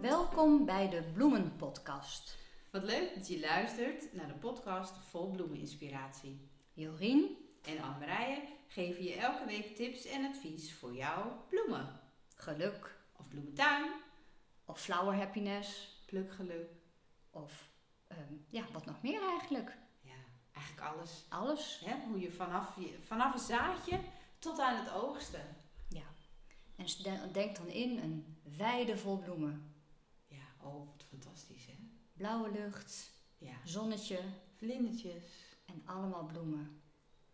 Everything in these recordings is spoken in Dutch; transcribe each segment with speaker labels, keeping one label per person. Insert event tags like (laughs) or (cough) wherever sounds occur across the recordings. Speaker 1: Welkom bij de Bloemenpodcast.
Speaker 2: Wat leuk dat je luistert naar de podcast vol bloemeninspiratie.
Speaker 1: Jorien,
Speaker 2: En Anne-Marije geven je elke week tips en advies voor jouw bloemen.
Speaker 1: geluk
Speaker 2: Of bloementuin,
Speaker 1: of flower happiness
Speaker 2: plukgeluk,
Speaker 1: of ehm, ja, wat nog meer eigenlijk.
Speaker 2: ja, eigenlijk alles.
Speaker 1: Alles.
Speaker 2: Hè? Hoe je vanaf, je vanaf een zaadje tot aan het oogsten.
Speaker 1: Ja. En stel- denk dan in een weide vol bloemen.
Speaker 2: Ja, oh wat fantastisch hè.
Speaker 1: Blauwe lucht,
Speaker 2: Ja,
Speaker 1: zonnetje
Speaker 2: vlindertjes.
Speaker 1: en allemaal bloemen.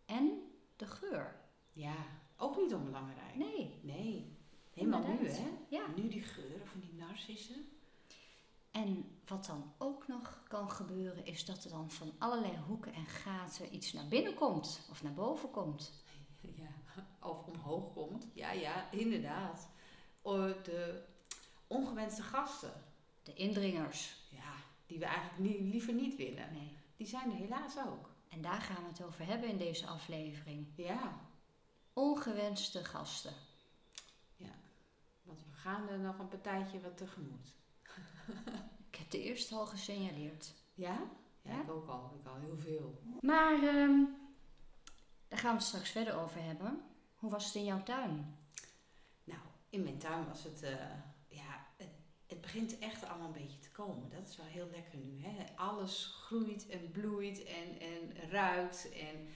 Speaker 1: En de geur.
Speaker 2: Ja, ook niet onbelangrijk.
Speaker 1: Nee.
Speaker 2: Nee, helemaal nu
Speaker 1: inderdaad.
Speaker 2: hè.
Speaker 1: Ja.
Speaker 2: Nu die geuren van die narcissen.
Speaker 1: En wat dan ook nog kan gebeuren is dat er dan van allerlei hoeken en gaten iets naar binnen komt of naar boven komt.
Speaker 2: (laughs) Ja, of omhoog komt. Ja, ja, inderdaad. O, De ongewenste gasten,
Speaker 1: De indringers.
Speaker 2: ja, die we eigenlijk nie- liever niet willen,
Speaker 1: Nee.
Speaker 2: die zijn er helaas ook.
Speaker 1: En daar gaan we het over hebben in deze aflevering.
Speaker 2: Ja,
Speaker 1: Ongewenste gasten.
Speaker 2: want we gaan er nog een partijtje wat tegemoet.
Speaker 1: Ik heb de eerste al gesignaleerd.
Speaker 2: Ja? Ja,
Speaker 1: Ja?
Speaker 2: ik ook al. Ik al heel veel.
Speaker 1: Maar ehm, daar gaan we het straks verder over hebben. Hoe was het in jouw tuin?
Speaker 2: Nou, in mijn tuin was het, eh, ja, het, het begint echt allemaal een beetje te komen. Dat is wel heel lekker nu, hè. Alles groeit en bloeit en, en ruikt en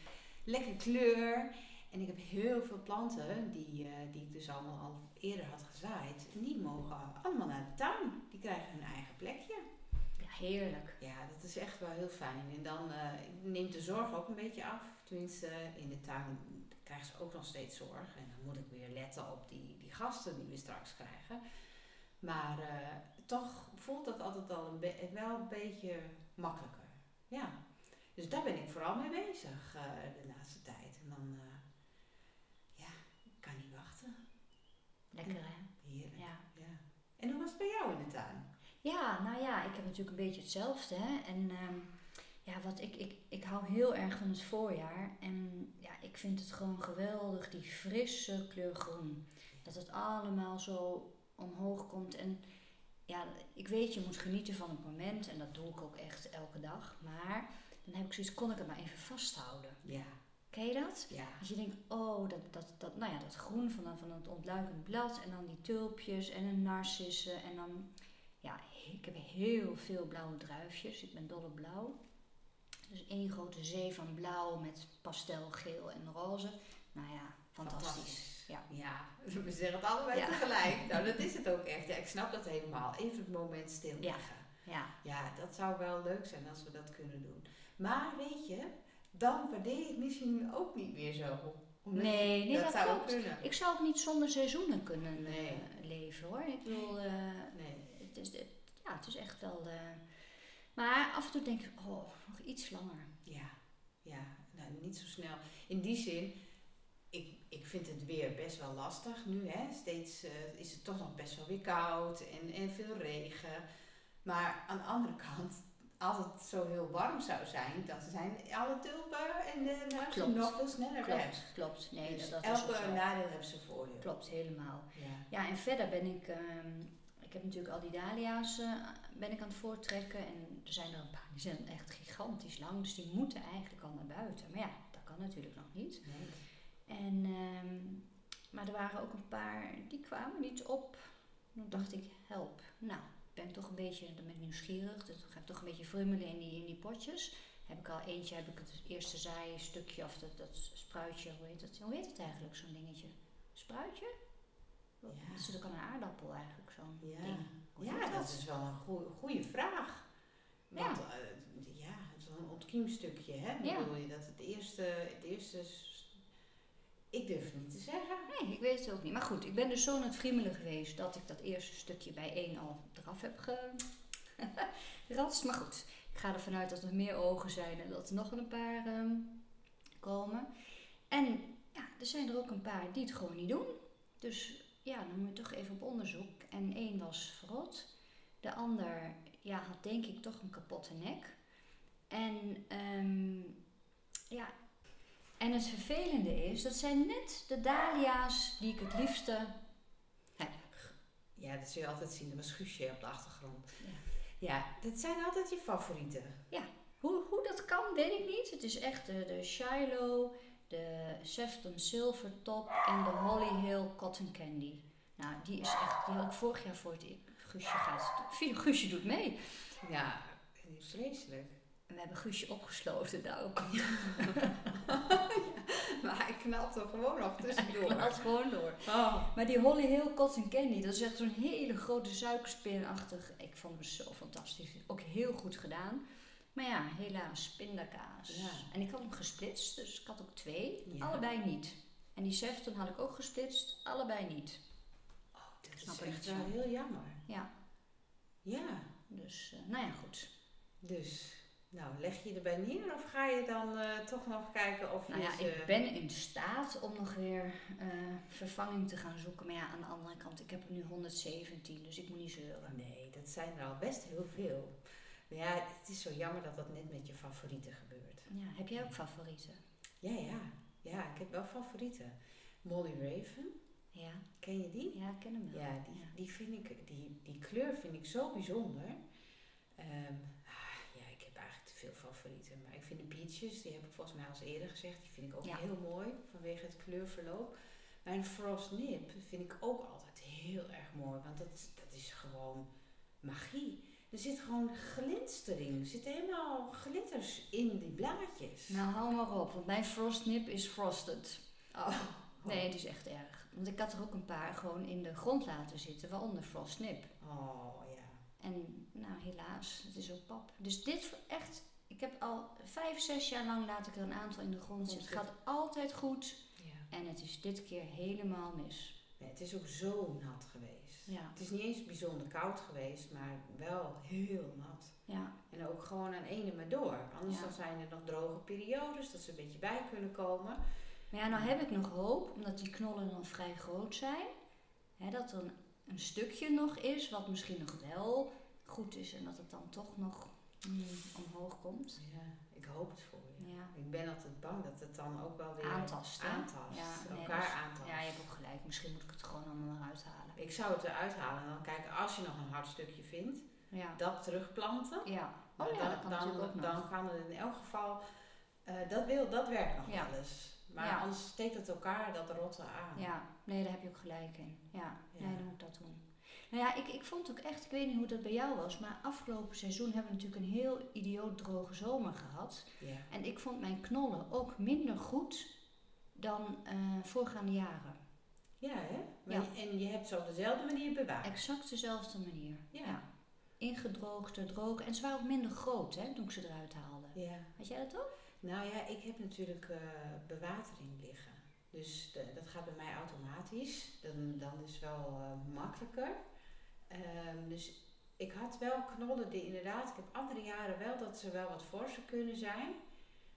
Speaker 2: lekker kleur. En ik heb heel veel planten die, eh, die ik dus allemaal al eerder had gezaaid. Die mogen al- allemaal naar de tuin. Die krijgen hun eigen plekje.
Speaker 1: Ja, heerlijk.
Speaker 2: Ja, dat is echt wel heel fijn. En dan eh, neemt de zorg ook een beetje af. Tenminste, eh, in de tuin krijgen ze ook nog steeds zorg. En dan moet ik weer letten op die, die gasten die we straks krijgen. Maar eh, toch voelt dat altijd al een be- wel een beetje makkelijker. Ja. Dus daar ben ik vooral mee bezig eh, de laatste tijd. En dan, eh, ja, ik kan niet wachten.
Speaker 1: Lekker hè?
Speaker 2: Heerlijk.
Speaker 1: Ja.
Speaker 2: Ja. En hoe was het bij jou in de tuin?
Speaker 1: Ja, nou ja, ik heb natuurlijk een beetje hetzelfde. Hè? En ehm, ja, wat ik, ik, ik hou heel erg van het voorjaar. En ja, ik vind het gewoon geweldig, die frisse kleur groen. Dat het allemaal zo omhoog komt. En ja, ik weet, je moet genieten van het moment. En dat doe ik ook echt elke dag. Maar dan heb ik zoiets, kon ik het maar even vasthouden.
Speaker 2: Ja,
Speaker 1: Ken je dat?
Speaker 2: ja.
Speaker 1: Als je denkt, oh, dat, dat, dat, nou ja, dat groen van, van het ontluikend blad en dan die tulpjes en een narcissen en dan, ja, he- ik heb heel veel blauwe druifjes. Ik ben dol op blauw. Dus één grote zee van blauw met pastelgeel en roze. Nou ja, fantastisch. Ja.
Speaker 2: Ja, we zeggen het allebei
Speaker 1: Ja.
Speaker 2: tegelijk. Nou, dat is het ook echt. Ja, ik snap dat helemaal. Even het moment stil
Speaker 1: Ja.
Speaker 2: liggen.
Speaker 1: Ja,
Speaker 2: Ja, dat zou wel leuk zijn als we dat kunnen doen. Maar weet je, dan waardeer je het misschien ook niet meer zo. Omdat
Speaker 1: Nee, nee, dat
Speaker 2: zou
Speaker 1: klopt.
Speaker 2: kunnen.
Speaker 1: ik zou ook niet zonder seizoenen kunnen
Speaker 2: Nee.
Speaker 1: eh, leven hoor. Ik bedoel, eh,
Speaker 2: Nee.
Speaker 1: het is, het- ja, het is echt wel... eh, maar af en toe denk ik, oh, nog iets langer.
Speaker 2: Ja, ja, nou, niet zo snel. In die zin, ik, ik vind het weer best wel lastig nu. Hè? Steeds eh, is het toch nog best wel weer koud en, en veel regen. Maar aan de andere kant, als het zo heel warm zou zijn, dan zijn alle tulpen en de narcissen
Speaker 1: Klopt.
Speaker 2: nog veel sneller weg.
Speaker 1: Klopt, klopt. Nee,
Speaker 2: Dus
Speaker 1: dat is ook
Speaker 2: elke
Speaker 1: zo.
Speaker 2: nadeel heeft zijn voordeel.
Speaker 1: Klopt, helemaal.
Speaker 2: Ja.
Speaker 1: Ja, en verder ben ik... ehm, ik heb natuurlijk al die dahlia's eh, ben ik aan het voorttrekken. En er zijn er een paar, die zijn echt gigantisch lang. Dus die moeten eigenlijk al naar buiten. Maar ja, dat kan natuurlijk nog niet.
Speaker 2: Nee.
Speaker 1: En, ehm, maar er waren ook een paar, die kwamen niet op. Toen dacht ik, help. Nou, ik ben toch een beetje dan ben ik nieuwsgierig. Dus ik ga toch een beetje frummelen in die, in die potjes. Heb ik al eentje, heb ik het eerste zijstukje of dat, dat spruitje, hoe heet het? Hoe heet het eigenlijk, zo'n dingetje? Spruitje?
Speaker 2: Ja.
Speaker 1: Dat zit ook aan een aardappel eigenlijk, zo'n
Speaker 2: Ja.
Speaker 1: ding. Hoe
Speaker 2: ja,
Speaker 1: heet
Speaker 2: dat is wel een goe- goede vraag.
Speaker 1: Ja.
Speaker 2: Want ja, ja het is wel een ontkiemstukje, hè?
Speaker 1: Ja.
Speaker 2: Bedoel je dat het eerste, het eerste... s- Ik durf het niet te zeggen.
Speaker 1: Nee, ik weet het ook niet. Maar goed, ik ben dus zo aan het friemelen geweest dat ik dat eerste stukje bij één al eraf heb (laughs) geratst. Maar goed, ik ga ervan uit dat er meer ogen zijn en dat er nog wel een paar ehm, komen. En ja, er zijn er ook een paar die het gewoon niet doen. Dus ja, dan moet je toch even op onderzoek. En één was verrot. De ander ja, had denk ik toch een kapotte nek. En ehm, ja, en het vervelende is, dat zijn net de dahlia's die ik het liefste heb.
Speaker 2: Ja, dat zul je altijd zien, er was Guusje op de achtergrond.
Speaker 1: Ja.
Speaker 2: Ja, dat zijn altijd je favorieten.
Speaker 1: Hoe, hoe dat kan, weet ik niet. Het is echt de, de Shiloh, de Sefton Silvertop en de Holly Hill Cotton Candy. Nou, die is echt, die had ik vorig jaar voor het e- Guusje gaat. Guusje doet mee.
Speaker 2: Ja, vreselijk. (laughs)
Speaker 1: En we hebben Guusje opgesloten, daarom (laughs) kan
Speaker 2: Maar ik knalde er gewoon nog
Speaker 1: (laughs)
Speaker 2: tussendoor.
Speaker 1: het gewoon door.
Speaker 2: Oh.
Speaker 1: Maar die Holly Hill Cotton Candy, dat is echt zo'n hele grote suikerspinachtig. Ik vond het zo fantastisch. Ook heel goed gedaan. Maar ja, helaas, pindakaas.
Speaker 2: Ja.
Speaker 1: En ik had hem gesplitst, dus ik had ook twee.
Speaker 2: Ja.
Speaker 1: Allebei niet. En die Sefton had ik ook gesplitst, allebei niet.
Speaker 2: Oh, dat
Speaker 1: Snap
Speaker 2: is
Speaker 1: ik
Speaker 2: echt
Speaker 1: niet
Speaker 2: wel
Speaker 1: zo.
Speaker 2: heel jammer.
Speaker 1: Ja.
Speaker 2: Ja,
Speaker 1: Dus, eh, nou ja, goed.
Speaker 2: dus. Nou, leg je erbij neer of ga je dan eh, toch nog kijken of
Speaker 1: Nou
Speaker 2: je
Speaker 1: ja,
Speaker 2: ze-
Speaker 1: ik ben in staat om nog weer eh, vervanging te gaan zoeken. Maar ja, aan de andere kant, ik heb er nu 117, dus ik moet niet zeuren.
Speaker 2: Oh, Nee, dat zijn er al best heel veel. Maar ja, het is zo jammer dat dat net met je favorieten gebeurt.
Speaker 1: Ja, heb jij ook favorieten?
Speaker 2: Ja, ja. Ja, ik heb wel favorieten. Molly Raven,
Speaker 1: Ja,
Speaker 2: ken je die?
Speaker 1: ja ik ken hem wel.
Speaker 2: Ja, die, die, vind ik, die, die kleur vind ik zo bijzonder. Ehm, ah, ja, ik heb eigenlijk te veel favorieten. Maar ik vind de peaches, die heb ik volgens mij al eens eerder gezegd, die vind ik ook
Speaker 1: Ja.
Speaker 2: heel mooi vanwege het kleurverloop. Maar een frost nip vind ik ook altijd heel erg mooi, want dat, dat is gewoon magie. Er zit gewoon glinstering, er zitten helemaal glitters in die blaadjes.
Speaker 1: Nou, hou maar op, want mijn frostnip is frosted.
Speaker 2: Oh.
Speaker 1: Nee, het is echt erg. Want ik had er ook een paar gewoon in de grond laten zitten, waaronder frostnip.
Speaker 2: Oh, ja.
Speaker 1: En nou, helaas, het is ook pap. Dus dit voor echt, ik heb al vijf, zes jaar lang laat ik er een aantal in de grond zitten. Het gaat altijd goed
Speaker 2: ja.
Speaker 1: en het is dit keer helemaal mis.
Speaker 2: Nee, het is ook zo nat geweest.
Speaker 1: Ja,
Speaker 2: Het is niet eens bijzonder koud geweest, maar wel heel nat.
Speaker 1: ja,
Speaker 2: En ook gewoon aan ene maar door. Anders
Speaker 1: Ja.
Speaker 2: dan zijn er nog droge periodes, dat ze een beetje bij kunnen komen.
Speaker 1: Maar ja, nou heb ik nog hoop, omdat die knollen dan vrij groot zijn. Hè, dat er een, een stukje nog is, wat misschien nog wel goed is en dat het dan toch nog mm, omhoog komt.
Speaker 2: Ja, ik hoop het voor je.
Speaker 1: Ja,
Speaker 2: Ik ben altijd bang dat het dan ook wel weer
Speaker 1: aantast. hè?
Speaker 2: aantast,
Speaker 1: Ja, nee,
Speaker 2: elkaar
Speaker 1: dus-
Speaker 2: aantast.
Speaker 1: Ja, je hebt ook gelijk. Misschien moet ik het gewoon allemaal maar uithalen.
Speaker 2: Ik zou het eruit halen en dan kijken als je nog een hard stukje vindt,
Speaker 1: Ja.
Speaker 2: dat terugplanten.
Speaker 1: ja.
Speaker 2: Maar
Speaker 1: Oh ja, dat kan
Speaker 2: dan,
Speaker 1: natuurlijk ook nog.
Speaker 2: dan kan het in elk geval, eh, dat, wil, dat werkt nog
Speaker 1: Ja.
Speaker 2: wel eens. Maar
Speaker 1: Ja.
Speaker 2: anders steekt het elkaar dat rotte aan.
Speaker 1: Ja, nee, daar heb je ook gelijk in. Ja,
Speaker 2: Ja.
Speaker 1: nee, dan moet ik dat doen. Nou ja, ik, ik vond ook echt, ik weet niet hoe dat bij jou was, maar afgelopen seizoen hebben we natuurlijk een heel idioot droge zomer gehad.
Speaker 2: Ja.
Speaker 1: En ik vond mijn knollen ook minder goed dan eh, voorgaande jaren.
Speaker 2: Ja, hè? Maar
Speaker 1: Ja.
Speaker 2: je- en je hebt ze op dezelfde manier bewaard.
Speaker 1: Exact dezelfde manier.
Speaker 2: ja.
Speaker 1: Ingedroogd, droog. En ze waren ook minder groot, hè, toen ik ze eruit haalde.
Speaker 2: ja.
Speaker 1: Had jij dat ook?
Speaker 2: Nou ja, ik heb natuurlijk eh, bewatering liggen. Dus de- dat gaat bij mij automatisch. Dan, dan is het wel eh, makkelijker. Ehm, dus ik had wel knollen die inderdaad, ik heb andere jaren wel dat ze wel wat forser kunnen zijn.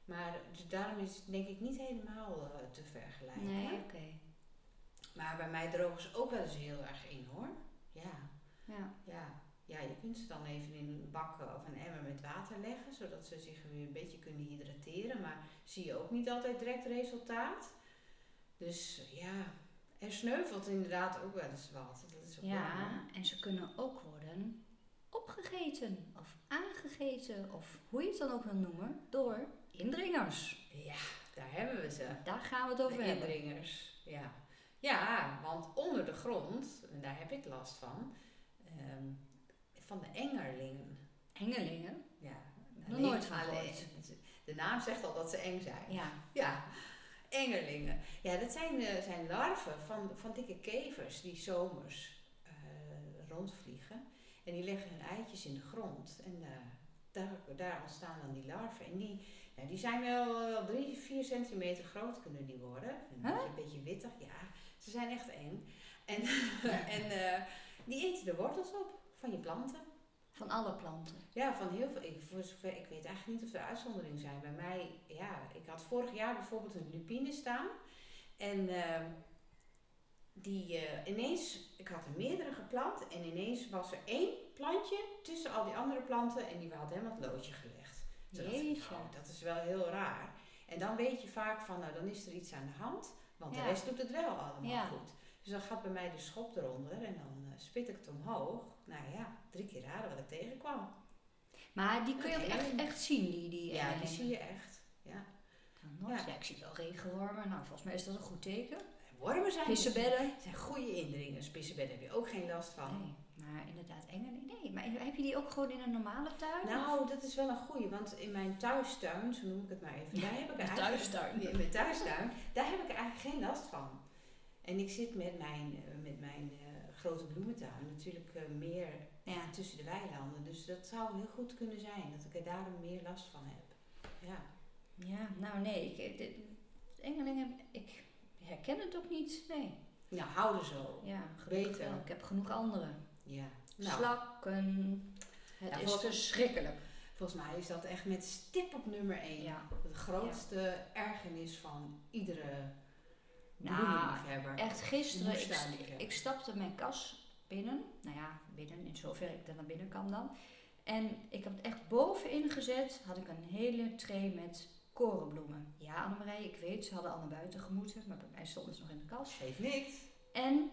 Speaker 2: Maar dus daarom is het denk ik niet helemaal eh, te vergelijken.
Speaker 1: Nee, oké.
Speaker 2: Maar bij mij drogen ze ook wel eens heel erg in hoor. Ja.
Speaker 1: Ja.
Speaker 2: Ja, ja, je kunt ze dan even in een bak eh, of een emmer met water leggen, zodat ze zich weer een beetje kunnen hydrateren. Maar zie je ook niet altijd direct resultaat. Dus eh, ja, er sneuvelt inderdaad ook wel eens wat. Dat is ook jammer.
Speaker 1: ja, en ze kunnen ook worden opgegeten of aangegeten of hoe je het dan ook wil noemen door indringers.
Speaker 2: ja, daar hebben we ze.
Speaker 1: Daar gaan we het over
Speaker 2: De
Speaker 1: hebben.
Speaker 2: indringers. Ja. ja, want onder de grond, en daar heb ik last van, ehm, van de engerling.
Speaker 1: Hengelingen?
Speaker 2: Ja, nou,
Speaker 1: Nog nooit van
Speaker 2: alleen-
Speaker 1: gehoord.
Speaker 2: De naam zegt al dat ze eng zijn.
Speaker 1: Ja.
Speaker 2: Ja, engerlingen. Ja, dat zijn, eh, zijn larven van, van dikke kevers die zomers eh, rondvliegen. En die leggen hun eitjes in de grond. En eh, daar, daar ontstaan dan die larven. En die, ja, die zijn wel eh, drie, vier centimeter groot kunnen die worden. Een
Speaker 1: Huh?
Speaker 2: beetje, een beetje wittig, ja. Ze zijn echt eng. En, (laughs) en eh, die eten de wortels op van je planten.
Speaker 1: Van alle planten.
Speaker 2: Ja, van heel veel. Ik, voor zover, ik weet eigenlijk niet of er uitzonderingen zijn. Bij mij, ja, ik had vorig jaar bijvoorbeeld een lupine staan. En eh, die eh, ineens, ik had er meerdere geplant. En ineens was er één plantje tussen al die andere planten. En die had helemaal het loodje gelegd. Toen dacht ik,
Speaker 1: Jeetje.
Speaker 2: nou, dat is wel heel raar. En dan weet je vaak van, nou dan is er iets aan de hand. Want
Speaker 1: Ja.
Speaker 2: de rest doet het wel allemaal
Speaker 1: Ja.
Speaker 2: goed. Dus Dus dan gaat bij mij de schop eronder en dan eh, spit ik het omhoog. Nou ja, drie keer raden wat ik tegenkwam.
Speaker 1: Maar die kun je
Speaker 2: Oké.
Speaker 1: ook echt, echt zien, die, die
Speaker 2: Ja, die
Speaker 1: ellingen.
Speaker 2: zie je echt. Ja.
Speaker 1: Nou, nooit.
Speaker 2: Ja.
Speaker 1: Ja, ik zie wel regenwormen. Nou, volgens mij is dat een goed teken.
Speaker 2: Wormen zijn, dus
Speaker 1: Vissenbedden.
Speaker 2: zijn goede indringers. Pissenbedden heb je ook geen last van.
Speaker 1: Nee, maar inderdaad, engen. Nee, maar heb je die ook gewoon in een normale tuin?
Speaker 2: Nou, dat is wel een goeie, want in mijn thuistuin, zo noem ik het maar even, daar heb ik
Speaker 1: mijn
Speaker 2: eigenlijk-
Speaker 1: thuistuin.
Speaker 2: Ja, in mijn thuistuin, daar heb ik eigenlijk geen last van. En ik zit met mijn, eh, met mijn eh, grote bloementuin natuurlijk eh, meer
Speaker 1: Ja.
Speaker 2: tussen de weilanden, dus dat zou heel goed kunnen zijn dat ik er daarom meer last van heb. Ja.
Speaker 1: Ja, nou nee, ik, de, engelingen, ik herken het ook niet. Nee.
Speaker 2: Nou, houden zo.
Speaker 1: Ja, gelukkig
Speaker 2: Beter.
Speaker 1: wel. Ik heb genoeg andere.
Speaker 2: Ja. Nou,
Speaker 1: Slakken. Het
Speaker 2: Ja,
Speaker 1: is
Speaker 2: volgens-
Speaker 1: verschrikkelijk.
Speaker 2: volgens mij is dat echt met stip op nummer 1.
Speaker 1: Ja.
Speaker 2: De grootste ergernis van iedere
Speaker 1: Nou,
Speaker 2: bloemenliefhebber.
Speaker 1: Echt gisteren, ik,
Speaker 2: Moestuin,
Speaker 1: st-
Speaker 2: ja.
Speaker 1: ik stapte mijn kas binnen. Nou ja, binnen, in zover ik er naar binnen kan dan. En ik heb het echt bovenin gezet, had ik een hele tray met korenbloemen. Ja, Annemarij, ik weet, ze hadden al naar buiten gemoeten, maar bij mij stonden ze nog in de kas.
Speaker 2: Geeft niks.
Speaker 1: En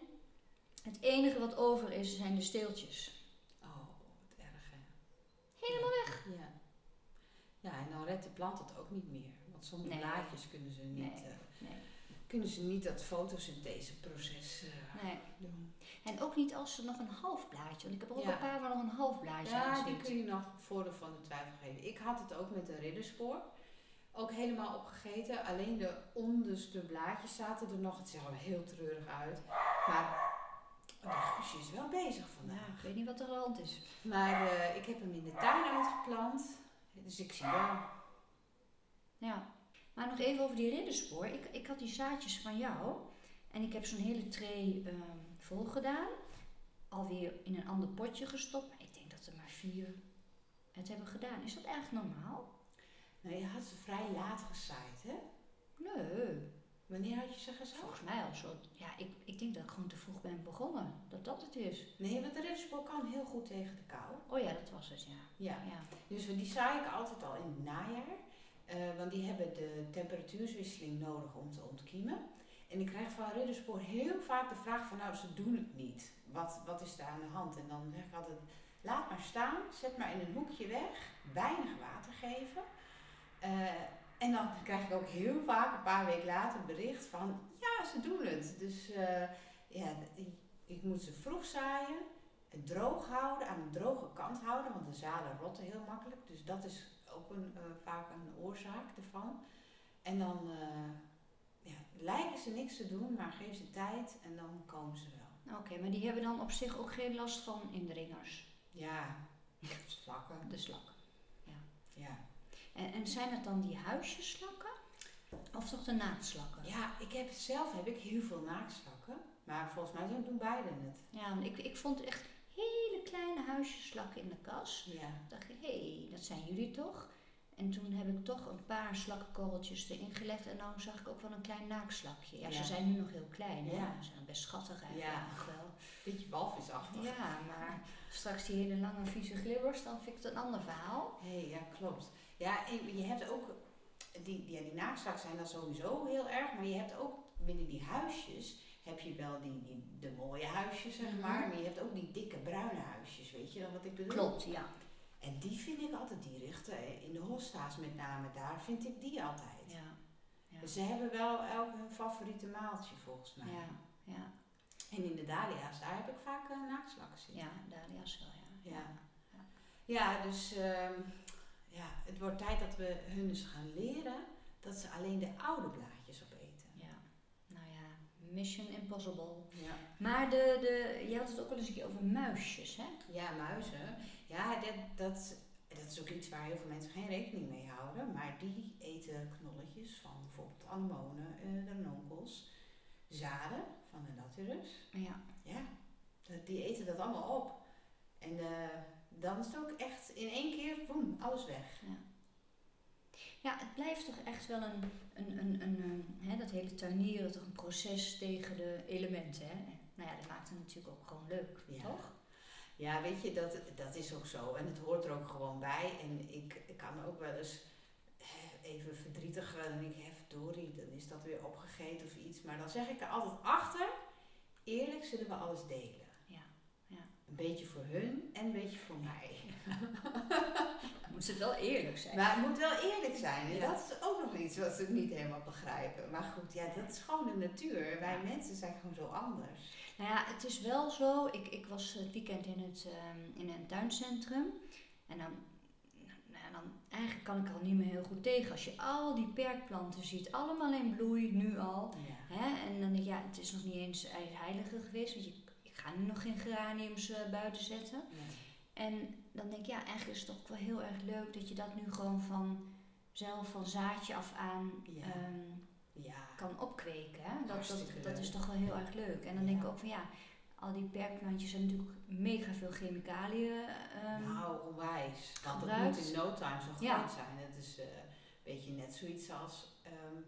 Speaker 1: het enige wat over is, zijn de steeltjes.
Speaker 2: Oh, wat erg hè. Helemaal weg. Ja. ja, en dan redt de plant het ook niet meer. Want sommige
Speaker 1: Nee.
Speaker 2: blaadjes kunnen ze niet,
Speaker 1: Nee,
Speaker 2: eh,
Speaker 1: nee.
Speaker 2: kunnen ze niet dat fotosyntheseproces eh,
Speaker 1: Nee.
Speaker 2: doen.
Speaker 1: En ook niet als ze nog een half blaadje, want ik heb er ook
Speaker 2: Ja.
Speaker 1: een paar waar nog een half blaadje aan
Speaker 2: Ja,
Speaker 1: zit.
Speaker 2: die kun je nog voordeel van de twijfel geven. Ik had het ook met de ridderspoor. Ook helemaal opgegeten. Alleen de onderste blaadjes zaten er nog. Het zag er heel treurig uit. Maar de guusje is wel bezig vandaag.
Speaker 1: Nou, ik weet niet wat er aan de hand is.
Speaker 2: Maar eh, ik heb hem in de tuin uitgeplant. Dus ik zie wel
Speaker 1: Ja. Maar nog even over die ridderspoor. Ik, ik had die zaadjes van jou. En ik heb zo'n hele tray ehm, vol gedaan. Alweer in een ander potje gestopt. Maar ik denk dat er maar vier het hebben gedaan. Is dat echt normaal?
Speaker 2: Nou, je had ze vrij laat gezaaid, hè?
Speaker 1: Nee.
Speaker 2: Wanneer had je ze gezaaid?
Speaker 1: Volgens mij al zo. Ja, ik, ik denk dat ik gewoon te vroeg ben begonnen. Dat dat het is.
Speaker 2: Nee, want de ridderspoor kan heel goed tegen de kou.
Speaker 1: Oh ja, dat was het, ja.
Speaker 2: Ja.
Speaker 1: Ja.
Speaker 2: Dus die zaai ik altijd al in het najaar. eh, want die hebben de temperatuurswisseling nodig om te ontkiemen. En ik krijg van ridderspoor heel vaak de vraag van, nou, ze doen het niet. Wat, wat is daar aan de hand? En dan zeg ik altijd, laat maar staan, zet maar in een hoekje weg, weinig water geven. Eh, en dan krijg ik ook heel vaak een paar weken later een bericht van, ja, ze doen het. Dus eh, ja, ik, ik moet ze vroeg zaaien, het droog houden, aan de droge kant houden, want de zaden rotten heel makkelijk. Dus dat is ook een, eh, vaak een oorzaak ervan. En dan eh, ja, lijken ze niks te doen, maar geef ze tijd en dan komen ze wel.
Speaker 1: Oké, maar die hebben dan op zich ook geen last van indringers.
Speaker 2: Ja, slakken.
Speaker 1: De slak.
Speaker 2: Ja.
Speaker 1: En, en zijn het dan die huisjeslakken? Of toch de naadslakken?
Speaker 2: ja, ik heb zelf heb ik heel veel naakslakken, maar volgens mij doen- doen beiden het.
Speaker 1: Ja, want ik, ik vond echt hele kleine huisjeslakken in de kas.
Speaker 2: Ja.
Speaker 1: Ik dacht, hé, hey, dat zijn jullie toch? En toen heb ik toch een paar slakkenkorreltjes erin gelegd. En nou zag ik ook wel een klein naakslakje. Ja,
Speaker 2: Ja.
Speaker 1: ze zijn nu nog heel klein. hè?
Speaker 2: Ja.
Speaker 1: Ze zijn best schattig eigenlijk
Speaker 2: Ja. Oh,
Speaker 1: nog wel.
Speaker 2: Beetje walvisachtig.
Speaker 1: Ja, maar straks die hele lange vieze glibbers, dan vind ik het een ander verhaal.
Speaker 2: Hé, ja, klopt. Ja, en je hebt ook, die, die, ja, die naakslak zijn dan sowieso heel erg, maar je hebt ook binnen die huisjes, heb je wel die, die, de mooie huisjes, zeg maar,
Speaker 1: Mhm.
Speaker 2: maar je hebt ook die dikke bruine huisjes, weet je dan wat ik bedoel?
Speaker 1: Klopt, ja.
Speaker 2: En die vind ik altijd, die richten, in de hosta's met name, daar vind ik die altijd.
Speaker 1: Ja, ja.
Speaker 2: Dus Ze hebben wel elk hun favoriete maaltje volgens mij.
Speaker 1: ja, ja,
Speaker 2: En in de dahlia's, daar heb ik vaak eh, naakslakken zitten.
Speaker 1: ja, dahlia's wel, ja.
Speaker 2: Ja. Ja, dus ehm, ja, het wordt tijd dat we hun eens gaan leren dat ze alleen de oude blaadjes opeten.
Speaker 1: Ja, nou ja, Mission Impossible.
Speaker 2: Ja,
Speaker 1: Maar de, de, je had het ook wel eens een keer over muisjes, hè?
Speaker 2: ja muizen. Ja, dat, dat, dat is ook iets waar heel veel mensen geen rekening mee houden. Maar die eten knolletjes van bijvoorbeeld anemonen, eh ranonkels, zaden van de latirus.
Speaker 1: Ja.
Speaker 2: Ja, dat- die eten dat allemaal op. En eh, dan is het ook echt in één keer, boem, alles weg.
Speaker 1: Ja, het blijft toch echt wel een, een, een, een, eh, hè, dat hele tuinieren, toch een proces tegen de elementen, hè? Nou ja, dat maakt het natuurlijk ook gewoon leuk,
Speaker 2: Ja.
Speaker 1: toch?
Speaker 2: Ja, weet je, dat, dat is ook zo. En het hoort er ook gewoon bij. En ik, ik kan ook wel eens eh, even verdrietig worden. En ik, hef, Dory, dan is dat weer opgegeten of iets. Maar dan zeg ik er altijd achter. eerlijk zullen we alles delen.
Speaker 1: Ja, ja.
Speaker 2: Een beetje voor hun en een beetje voor mij.
Speaker 1: Moet ze wel eerlijk zijn.
Speaker 2: Maar het moet wel eerlijk zijn. En
Speaker 1: Ja.
Speaker 2: dat is ook nog iets wat ze niet helemaal begrijpen. Maar goed, ja, dat is gewoon de natuur. Wij mensen zijn gewoon zo anders.
Speaker 1: Nou ja, het is wel zo. Ik, ik was het weekend in, het, ehm, in een tuincentrum. En dan, nou ja, dan, eigenlijk kan ik er al niet meer heel goed tegen. Als je al die perkplanten ziet, allemaal in bloei, nu al.
Speaker 2: Ja.
Speaker 1: Hè? En dan denk ik, ja, het is nog niet eens heilige geweest. Want je, ik ga nu nog geen geraniums eh, buiten zetten. En dan denk ik, ja, eigenlijk is het toch ook wel heel erg leuk dat je dat nu gewoon vanzelf, van zaadje af aan
Speaker 2: Ja.
Speaker 1: ehm,
Speaker 2: Ja.
Speaker 1: kan opkweken. Hè? Dat, dat,
Speaker 2: Hartstikke
Speaker 1: dat
Speaker 2: leuk.
Speaker 1: is toch wel heel erg leuk. En dan
Speaker 2: Ja.
Speaker 1: denk ik ook van ja, al die perkplantjes hebben natuurlijk mega veel chemicaliën. ehm,
Speaker 2: Nou, onwijs. Want
Speaker 1: gebruikt.
Speaker 2: het moet in no time zo groot
Speaker 1: Ja.
Speaker 2: zijn. Het is eh, een beetje net zoiets als ehm,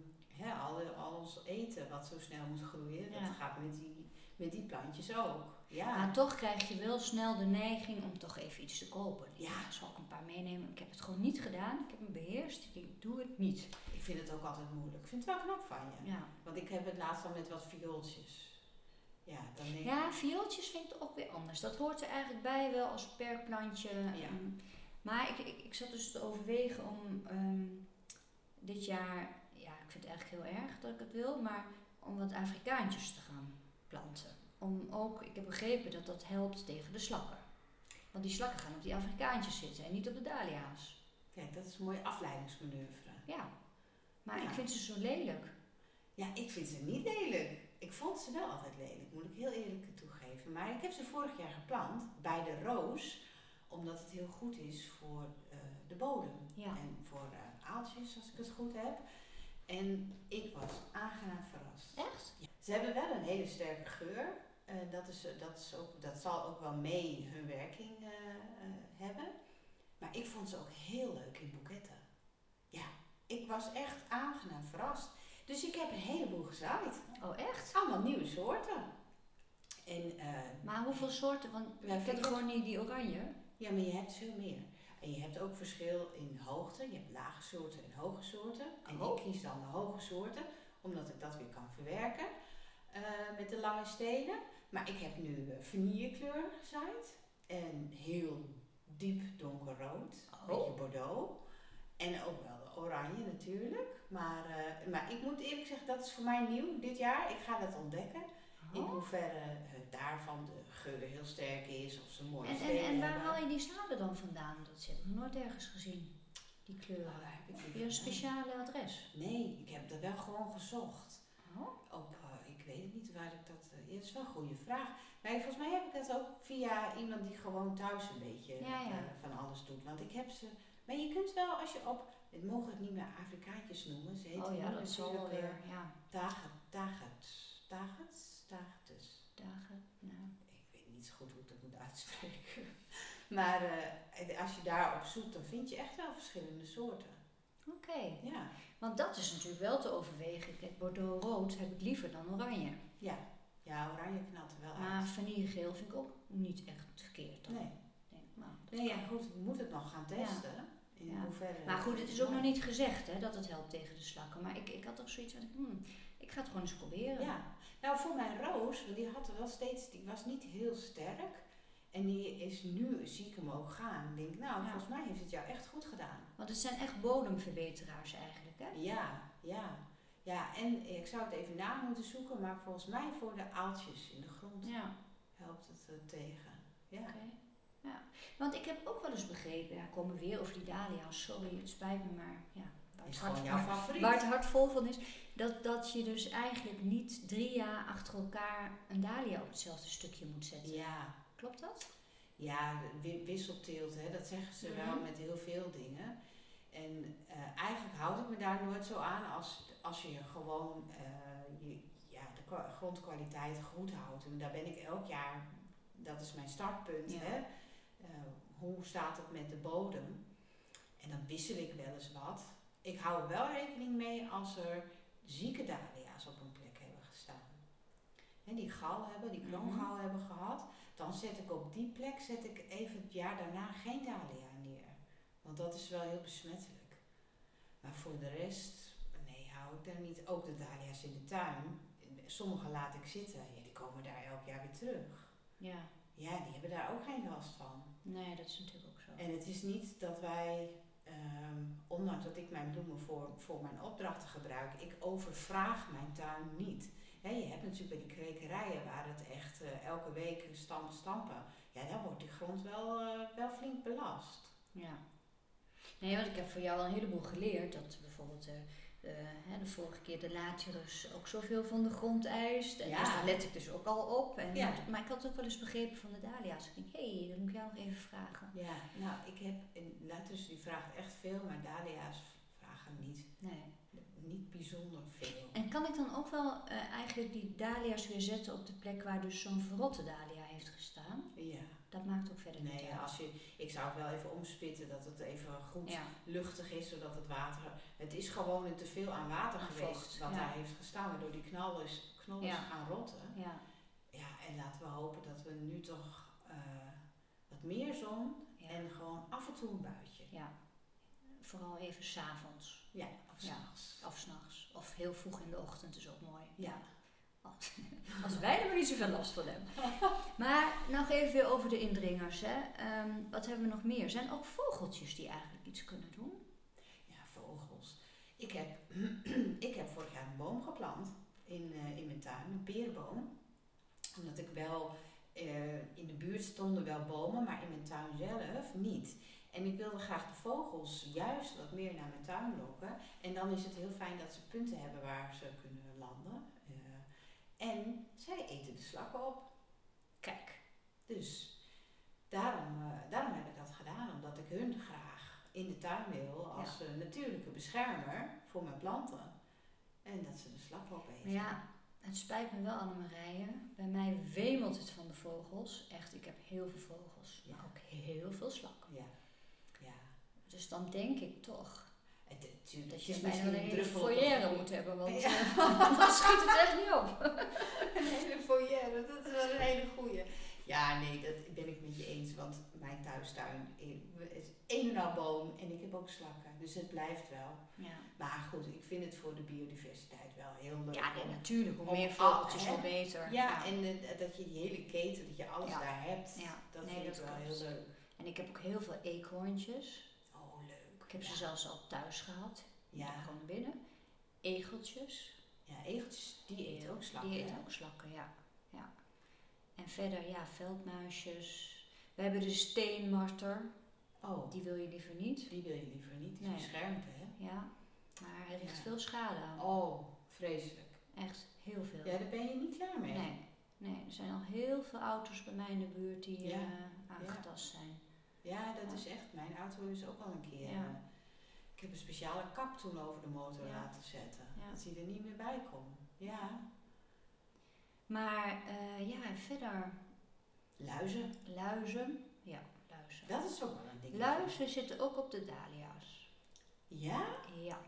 Speaker 2: hè, al, al ons eten wat zo snel moet groeien.
Speaker 1: Ja.
Speaker 2: Dat gaat met die, met die plantjes ook. Ja.
Speaker 1: Maar toch krijg je wel snel de neiging om toch even iets te kopen. Dus
Speaker 2: Ja.
Speaker 1: Ja, zal ik een paar meenemen? Ik heb het gewoon niet gedaan. Ik heb me beheerst. Ik denk, doe het niet.
Speaker 2: Ik vind het ook altijd moeilijk. Ik vind het wel knap van je.
Speaker 1: Ja,
Speaker 2: Want ik heb het laatst al met wat viooltjes. Ja, dan denk ik...
Speaker 1: ja viooltjes vind ik ook weer anders. Dat hoort er eigenlijk bij wel als perkplantje.
Speaker 2: Ja.
Speaker 1: ehm. Maar ik, ik, ik zat dus te overwegen om ehm, dit jaar, ja, ik vind het eigenlijk heel erg dat ik het wil, maar om wat Afrikaantjes te gaan planten. Om ook, ik heb begrepen dat dat helpt tegen de slakken. Want die slakken gaan op die Afrikaantjes zitten en niet op de dahlia's.
Speaker 2: Kijk, dat is een mooie afleidingsmanoeuvre.
Speaker 1: Ja. Maar ik
Speaker 2: Ja.
Speaker 1: vind ze zo lelijk.
Speaker 2: Ja, ik vind ze niet lelijk. Ik vond ze wel altijd lelijk, moet ik heel eerlijk toegeven. Maar ik heb ze vorig jaar geplant bij de roos, omdat het heel goed is voor eh, de bodem.
Speaker 1: Ja.
Speaker 2: En voor eh, aaltjes, als ik het goed heb. En ik was aangenaam verrast.
Speaker 1: Echt?
Speaker 2: Ze hebben wel een hele sterke geur. Eh, dat, is, dat, is ook, dat zal ook wel mee hun werking eh, eh, hebben. Maar ik vond ze ook heel leuk in boeketten. Ja, ik was echt aangenaam verrast. Dus ik heb een heleboel gezaaid.
Speaker 1: Oh, echt?
Speaker 2: Allemaal nieuwe soorten. En eh,
Speaker 1: Maar hoeveel soorten? Want
Speaker 2: Ja,
Speaker 1: ik heb
Speaker 2: vind ik-
Speaker 1: gewoon die, die oranje.
Speaker 2: Ja, maar je hebt veel meer. En je hebt ook verschil in hoogte. Je hebt lage soorten en hoge soorten. En
Speaker 1: Oh.
Speaker 2: ik kies dan de hoge soorten, omdat ik dat weer kan verwerken eh, met de lange stelen. Maar ik heb nu eh, vanillekleur gezaaid. En heel diep donkerrood.
Speaker 1: Oh.
Speaker 2: Een beetje bordeaux. En ook wel de oranje natuurlijk. Maar, eh, maar ik moet eerlijk zeggen, dat is voor mij nieuw dit jaar. Ik ga dat ontdekken. In
Speaker 1: Oh.
Speaker 2: hoeverre het daarvan de geur heel sterk is of ze mooi
Speaker 1: En, en,
Speaker 2: stelen
Speaker 1: en waar
Speaker 2: hebben.
Speaker 1: haal je die zaden dan vandaan? Dat heb ik nog nooit ergens gezien. Die kleuren.
Speaker 2: Nou, daar heb
Speaker 1: Heb
Speaker 2: ik niet
Speaker 1: je een
Speaker 2: gedaan.
Speaker 1: speciale adres?
Speaker 2: Nee, ik heb dat wel gewoon gezocht.
Speaker 1: Oh,
Speaker 2: Op, eh, ik weet het niet waar ik dat. eh, ja, dat is wel een goede vraag. Maar volgens mij heb ik dat ook via iemand die gewoon thuis een beetje
Speaker 1: Ja, ja.
Speaker 2: eh, van alles doet. Want ik heb ze. Maar je kunt wel als je op. Het mogen het niet meer Afrikaantjes noemen. Ze heten
Speaker 1: oh ja,
Speaker 2: nu
Speaker 1: dat zal wel
Speaker 2: natuurlijk, eh,
Speaker 1: weer. Ja,
Speaker 2: Dagen, dagets. Dagets? Dagetes.
Speaker 1: dagen. Nou.
Speaker 2: Ik weet niet zo goed hoe ik dat moet uitspreken. (laughs) maar eh, als je daarop zoekt, dan vind je echt wel verschillende soorten.
Speaker 1: nou, Oké,
Speaker 2: Ja.
Speaker 1: want dat is natuurlijk wel te overwegen. Kijk, Bordeaux rood heb ik liever dan oranje.
Speaker 2: Ja, oranje knalt er wel uit.
Speaker 1: Maar vanillegeel vind ik ook niet echt verkeerd. Dan.
Speaker 2: Ah. Nee.
Speaker 1: Nee, nou, dat
Speaker 2: Nee,
Speaker 1: kan.
Speaker 2: ja, goed, we moeten het nog gaan testen. In
Speaker 1: Ja.
Speaker 2: hoeverre
Speaker 1: Maar goed, het is ook nog
Speaker 2: Ja.
Speaker 1: niet gezegd hè, dat het helpt tegen de slakken. Maar ik, ik had toch zoiets van, hmm, ik ga het gewoon eens proberen.
Speaker 2: Ja. Nou, voor mijn roos, want die had er wel steeds, die was niet heel sterk. En die is nu, zie ik hem ook gaan. Ik denk, nou,
Speaker 1: Ja.
Speaker 2: volgens mij heeft het jou echt goed gedaan.
Speaker 1: Want het zijn echt bodemverbeteraars eigenlijk. Hè?
Speaker 2: Ja, ja. Ja, en ik zou het even na moeten zoeken, maar volgens mij voor de aaltjes in de grond
Speaker 1: Ja.
Speaker 2: helpt het er tegen. Ja.
Speaker 1: Oké, Ja, want ik heb ook wel eens begrepen, ja, komen we weer over die dahlia's, sorry, het spijt me, maar ja, waar het
Speaker 2: Is
Speaker 1: hart-
Speaker 2: gewoon jouw
Speaker 1: waar
Speaker 2: favoriet.
Speaker 1: het hart vol van is, dat, dat je dus eigenlijk niet drie jaar achter elkaar een dahlia op hetzelfde stukje moet zetten.
Speaker 2: Ja,
Speaker 1: Klopt dat?
Speaker 2: Ja, wi- wisselteelt, hè, dat zeggen ze wel
Speaker 1: Mhm.
Speaker 2: met heel veel dingen. En eh, eigenlijk houd ik me daar nooit zo aan als, als je gewoon eh, je, ja, de kwa- grondkwaliteit goed houdt. En daar ben ik elk jaar, dat is mijn startpunt.
Speaker 1: Ja.
Speaker 2: Hè? Eh, hoe staat het met de bodem? En dan wissel ik wel eens wat. Ik hou er wel rekening mee als er zieke dahlia's op een plek hebben gestaan. Hè, die gal hebben, die kroongal hebben gehad. Dan zet ik op die plek zet ik even het jaar daarna geen dahlia neer. Want dat is wel heel besmettelijk. Maar voor de rest, nee, hou ik daar niet. Ook de dahlia's in de tuin. Sommige laat ik zitten. Ja, die komen komen daar elk jaar weer terug.
Speaker 1: Ja,
Speaker 2: Ja, die hebben daar ook geen last van.
Speaker 1: nee, dat is natuurlijk ook zo.
Speaker 2: En het is niet dat wij, ehm, ondanks dat ik mijn bloemen voor, voor mijn opdrachten gebruik, ik overvraag mijn tuin niet. Hè, je hebt natuurlijk bij die kwekerijen waar het echt eh, elke week stampen, stampen. Ja, dan wordt die grond wel, eh, wel flink belast.
Speaker 1: Ja. Nee, want ik heb voor jou al een heleboel geleerd. Dat bijvoorbeeld eh, eh, hè, de vorige keer de laterus ook zoveel van de grond eist. En
Speaker 2: Ja.
Speaker 1: dus daar let ik dus ook al op. En,
Speaker 2: Ja.
Speaker 1: Maar ik had ook wel eens begrepen van de dahlia's. Ik denk, hé, hey, dat moet ik jou nog even vragen.
Speaker 2: Ja, nou, ik heb, en Latus die vraagt echt veel, maar Dahlia's vragen niet,
Speaker 1: Nee.
Speaker 2: niet bijzonder veel.
Speaker 1: En kan ik dan ook wel eh, eigenlijk die dahlia's weer zetten op de plek waar dus zo'n verrotte dahlia heeft gestaan?
Speaker 2: Ja,
Speaker 1: Dat maakt ook verder niet
Speaker 2: nee,
Speaker 1: uit.
Speaker 2: als je, ik zou het wel even omspitten dat het even goed
Speaker 1: Ja,
Speaker 2: luchtig is, zodat het water. Het is gewoon een teveel aan water
Speaker 1: Aan
Speaker 2: geweest
Speaker 1: vocht,
Speaker 2: wat
Speaker 1: ja.
Speaker 2: daar heeft gestaan, waardoor die knal is, knol is
Speaker 1: Ja.
Speaker 2: gaan rotten.
Speaker 1: ja,
Speaker 2: Ja, en laten we hopen dat we nu toch eh, wat meer zon
Speaker 1: ja.
Speaker 2: en gewoon af en toe een buitje.
Speaker 1: ja. Vooral even s'avonds
Speaker 2: Ja, of
Speaker 1: Ja.
Speaker 2: s'nachts.
Speaker 1: of s'nachts. Of heel vroeg in de ochtend is ook mooi.
Speaker 2: Ja.
Speaker 1: Als, als wij er maar niet zoveel last van hebben. (laughs) Maar nog even weer over de indringers. Hè. Ehm, wat hebben we nog meer? Zijn ook vogeltjes die eigenlijk iets kunnen doen?
Speaker 2: ja, vogels. Ik heb, (clears throat) ik heb vorig jaar een boom geplant in, eh, in mijn tuin, een perenboom. Omdat ik wel, eh, in de buurt stonden wel bomen, maar in mijn tuin zelf niet. En ik wilde graag de vogels juist wat meer naar mijn tuin lokken. En dan is het heel fijn dat ze punten hebben waar ze kunnen landen. Eh, en zij eten de slakken op.
Speaker 1: Kijk,
Speaker 2: Dus daarom, eh, daarom heb ik dat gedaan, omdat ik hun graag in de tuin wil als eh, natuurlijke beschermer voor mijn planten. En dat ze de slak opeten.
Speaker 1: maar ja, het spijt me wel Annemarije. Bij mij wemelt het van de vogels. Echt, ik heb heel veel vogels.
Speaker 2: Ja.
Speaker 1: Maar ook heel veel slakken.
Speaker 2: Ja. ja.
Speaker 1: Dus dan denk ik toch
Speaker 2: Het, het, het
Speaker 1: dat je
Speaker 2: is
Speaker 1: bijna wel
Speaker 2: misschien
Speaker 1: een
Speaker 2: een
Speaker 1: hele
Speaker 2: druppel op de
Speaker 1: foyer
Speaker 2: gloed.
Speaker 1: moet hebben. Want
Speaker 2: Ja.
Speaker 1: eh, (laughs) anders schiet het echt niet op.
Speaker 2: (laughs) Een hele foyer, dat is wel een hele goeie. Ja, nee, dat ben ik met je eens, want mijn thuistuin is een en al boom en ik heb ook slakken, dus het blijft wel.
Speaker 1: Ja,
Speaker 2: Maar goed, ik vind het voor de biodiversiteit wel heel leuk.
Speaker 1: ja nee,
Speaker 2: om-
Speaker 1: natuurlijk. Hoe
Speaker 2: Om
Speaker 1: meer
Speaker 2: al-
Speaker 1: vogeltjes,
Speaker 2: hè?
Speaker 1: hoe beter.
Speaker 2: Ja, en eh, dat je die hele keten, dat je alles
Speaker 1: Ja.
Speaker 2: daar hebt,
Speaker 1: Ja.
Speaker 2: dat
Speaker 1: Nee,
Speaker 2: vind
Speaker 1: dat
Speaker 2: ik wel
Speaker 1: klopt.
Speaker 2: heel leuk.
Speaker 1: En ik heb ook heel veel eekhoorntjes.
Speaker 2: Oh, leuk.
Speaker 1: Ik heb ze
Speaker 2: ja.
Speaker 1: zelfs al thuis gehad. Ja.
Speaker 2: Ja.
Speaker 1: Gewoon naar binnen. Egeltjes.
Speaker 2: ja, egeltjes, die eten ook slakken.
Speaker 1: Die
Speaker 2: hè?
Speaker 1: eten ook slakken, ja. ja. En verder, ja, veldmuisjes. We hebben de steenmarter.
Speaker 2: Oh,
Speaker 1: Die wil je liever niet.
Speaker 2: die wil je liever niet, die is
Speaker 1: Nee.
Speaker 2: beschermd, hè?
Speaker 1: Ja. Maar er ligt
Speaker 2: Ja.
Speaker 1: veel schade aan.
Speaker 2: Oh, vreselijk.
Speaker 1: Echt heel veel.
Speaker 2: Ja, daar ben je niet klaar mee.
Speaker 1: nee. nee, er zijn al heel veel auto's bij mij in de buurt die
Speaker 2: Ja.
Speaker 1: eh, aangetast zijn.
Speaker 2: Ja, dat
Speaker 1: Ja.
Speaker 2: is echt, mijn auto is ook al een keer.
Speaker 1: Ja.
Speaker 2: eh, Ik heb een speciale kap toen over de motor
Speaker 1: Ja.
Speaker 2: laten zetten,
Speaker 1: Ja.
Speaker 2: dat hij er niet meer bij kon. Ja,
Speaker 1: Maar eh, ja, en verder
Speaker 2: luizen,
Speaker 1: luizen. Ja, luizen.
Speaker 2: dat is ook wel een ding.
Speaker 1: Luizen zitten ook op de dahlia's.
Speaker 2: Ja?
Speaker 1: Ja,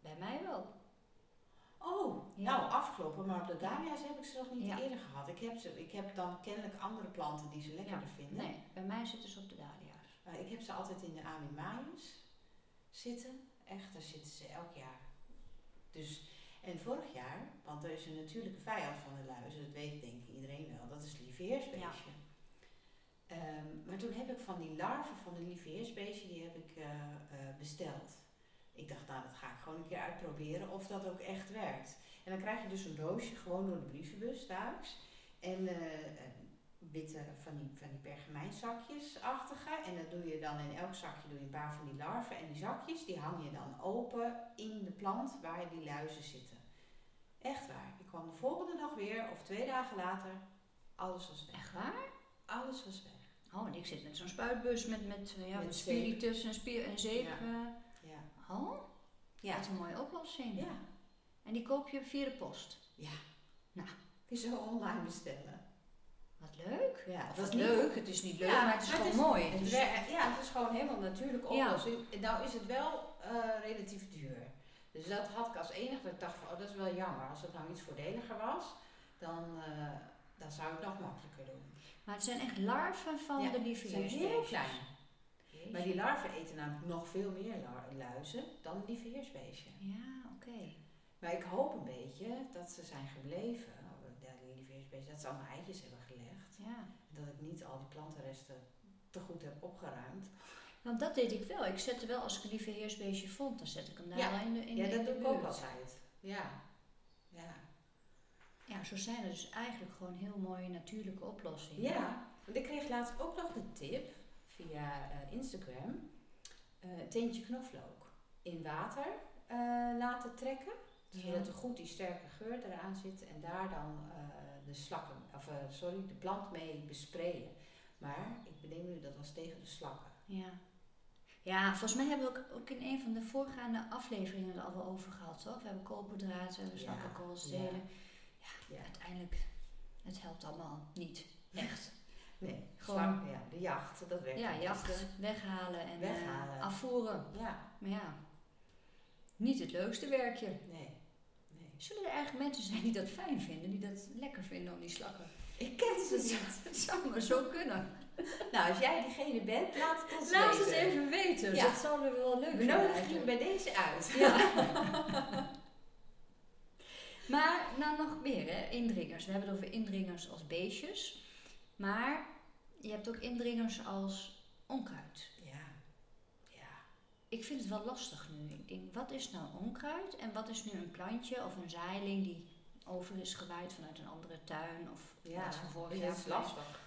Speaker 1: bij mij wel.
Speaker 2: Oh,
Speaker 1: Ja.
Speaker 2: nou afkloppen, maar op de dahlia's heb ik ze nog niet
Speaker 1: Ja.
Speaker 2: eerder gehad. Ik heb, ze, ik heb dan kennelijk andere planten die ze lekkerder vinden.
Speaker 1: Nee, bij mij zitten ze op de dahlia's.
Speaker 2: Maar Eh, ik heb ze altijd in de amimaius zitten. Echt, daar zitten ze elk jaar. Dus, en vorig jaar, want er is een natuurlijke vijand van de luizen, dat weet denk ik iedereen wel, dat is het lieveheersbeestje. Ehm, maar toen heb ik van die larven van de lieveheersbeestje, die heb ik eh, eh, besteld. Ik dacht, nou dat ga ik gewoon een keer uitproberen of dat ook echt werkt. En dan krijg je dus een doosje gewoon door de brievenbus thuis. En eh, eh, witte van die, van die pergamijnzakjes-achtige. En dat doe je dan in elk zakje doe je een paar van die larven. En die zakjes die hang je dan open in de plant waar die luizen zitten. Echt waar. Ik kwam de volgende dag weer, of twee dagen later, alles was weg.
Speaker 1: Echt waar?
Speaker 2: Alles was weg.
Speaker 1: Oh, en ik zit met zo'n spuitbus met, met, eh, ja,
Speaker 2: Met
Speaker 1: met
Speaker 2: zeep.
Speaker 1: spiritus en, spier en zeep.
Speaker 2: Ja.
Speaker 1: eh.
Speaker 2: Ja.
Speaker 1: oh,
Speaker 2: Ja.
Speaker 1: wat een mooie oplossing.
Speaker 2: Ja.
Speaker 1: En die koop je via de post.
Speaker 2: Kun je zo online bestellen.
Speaker 1: Wat leuk.
Speaker 2: Ja,
Speaker 1: Of
Speaker 2: dat
Speaker 1: wat
Speaker 2: is niet-
Speaker 1: leuk, het is niet leuk,
Speaker 2: Ja,
Speaker 1: maar het is
Speaker 2: maar het
Speaker 1: gewoon
Speaker 2: is-
Speaker 1: mooi. Dus-
Speaker 2: Het
Speaker 1: Het is-
Speaker 2: wer- ja, het is gewoon helemaal een natuurlijke
Speaker 1: Ja.
Speaker 2: oplossing. En Nou is het wel eh, relatief duur. Dus dat had ik als enige. Dat ik dacht van, oh, dat is wel jammer. Als het nou iets voordeliger was, dan, eh, dan zou ik het nog makkelijker doen.
Speaker 1: maar het zijn echt larven van
Speaker 2: Ja,
Speaker 1: de
Speaker 2: Ze zijn heel
Speaker 1: lieveheersbeestjes.
Speaker 2: klein. Maar die larven eten namelijk nog veel meer lar- luizen dan die veersbeestje.
Speaker 1: Ja, oké.
Speaker 2: Oh, Maar ik hoop een beetje dat ze zijn gebleven. De bezig dat ze allemaal eitjes hebben gelegd.
Speaker 1: Ja.
Speaker 2: Dat ik niet al die plantenresten te goed heb opgeruimd.
Speaker 1: Want dat deed ik wel. Ik zette wel, als ik een lieve heersbeestje vond, dan zet ik hem daar
Speaker 2: Ja.
Speaker 1: wel in de in
Speaker 2: ja,
Speaker 1: de- in
Speaker 2: dat
Speaker 1: de
Speaker 2: doe ik ook
Speaker 1: buurt.
Speaker 2: altijd. Ja. Ja.
Speaker 1: Ja, zo zijn er dus eigenlijk gewoon heel mooie natuurlijke oplossingen.
Speaker 2: Ja, want ik kreeg laatst ook nog de tip via eh, Instagram. eh, een teentje knoflook in water eh, laten trekken. Zodat er goed die sterke geur eraan zit. En daar dan eh, de slakken, of eh, sorry, de plant mee besprayen. Maar ik bedenk nu dat was tegen de slakken.
Speaker 1: Ja. Ja, volgens mij hebben we ook, ook in een van de voorgaande afleveringen er al wel over gehad, toch? We hebben koolhydraten, we hebben
Speaker 2: Ja,
Speaker 1: slakkenkoolstelen. Ja.
Speaker 2: Ja.
Speaker 1: uiteindelijk, het helpt allemaal niet. Echt.
Speaker 2: Nee,
Speaker 1: Gewoon-
Speaker 2: slakken, ja, de jacht, dat werkt.
Speaker 1: Ja,
Speaker 2: het beste.
Speaker 1: jacht, weghalen en eh,
Speaker 2: Weghalen.
Speaker 1: afvoeren.
Speaker 2: Ja,
Speaker 1: Maar ja, niet het leukste werkje.
Speaker 2: nee. nee.
Speaker 1: Zullen er eigenlijk mensen zijn die dat fijn vinden, die dat lekker vinden om die
Speaker 2: (laughs)
Speaker 1: slakken?
Speaker 2: Ik ken
Speaker 1: (laughs)
Speaker 2: ze
Speaker 1: Het
Speaker 2: niet.
Speaker 1: zou- Het zou maar zo kunnen.
Speaker 2: Nou, als jij diegene bent, laat het ons
Speaker 1: Laat het
Speaker 2: weten.
Speaker 1: even weten,
Speaker 2: Ja.
Speaker 1: dat zou er wel leuk
Speaker 2: We
Speaker 1: zijn.
Speaker 2: nodigen
Speaker 1: eigenlijk.
Speaker 2: je bij deze uit.
Speaker 1: Ja. maar nou nog meer, hè? indringers. We hebben het over indringers als beestjes. Maar je hebt ook indringers als onkruid.
Speaker 2: Ja, ja,
Speaker 1: Ik vind het wel lastig nu. Ik denk, wat is nou onkruid en wat is nu een plantje of een zaailing die over is gewaaid vanuit een andere tuin of
Speaker 2: ja.
Speaker 1: iets van vorig
Speaker 2: het
Speaker 1: jaar?
Speaker 2: is lastig.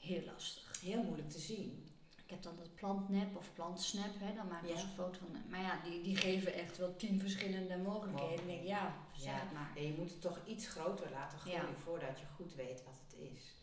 Speaker 1: Heel lastig.
Speaker 2: Heel moeilijk te zien.
Speaker 1: Ik heb dan dat plantnep of plantsnap, hè, dan maak ik
Speaker 2: Ja.
Speaker 1: dus een foto van. Maar ja, die, die geven echt wel tien verschillende mogelijkheden. Ik denk, ja, zeg
Speaker 2: Ja.
Speaker 1: het maar.
Speaker 2: Ja, je moet het toch iets groter laten groeien
Speaker 1: Ja.
Speaker 2: voordat je goed weet wat het is.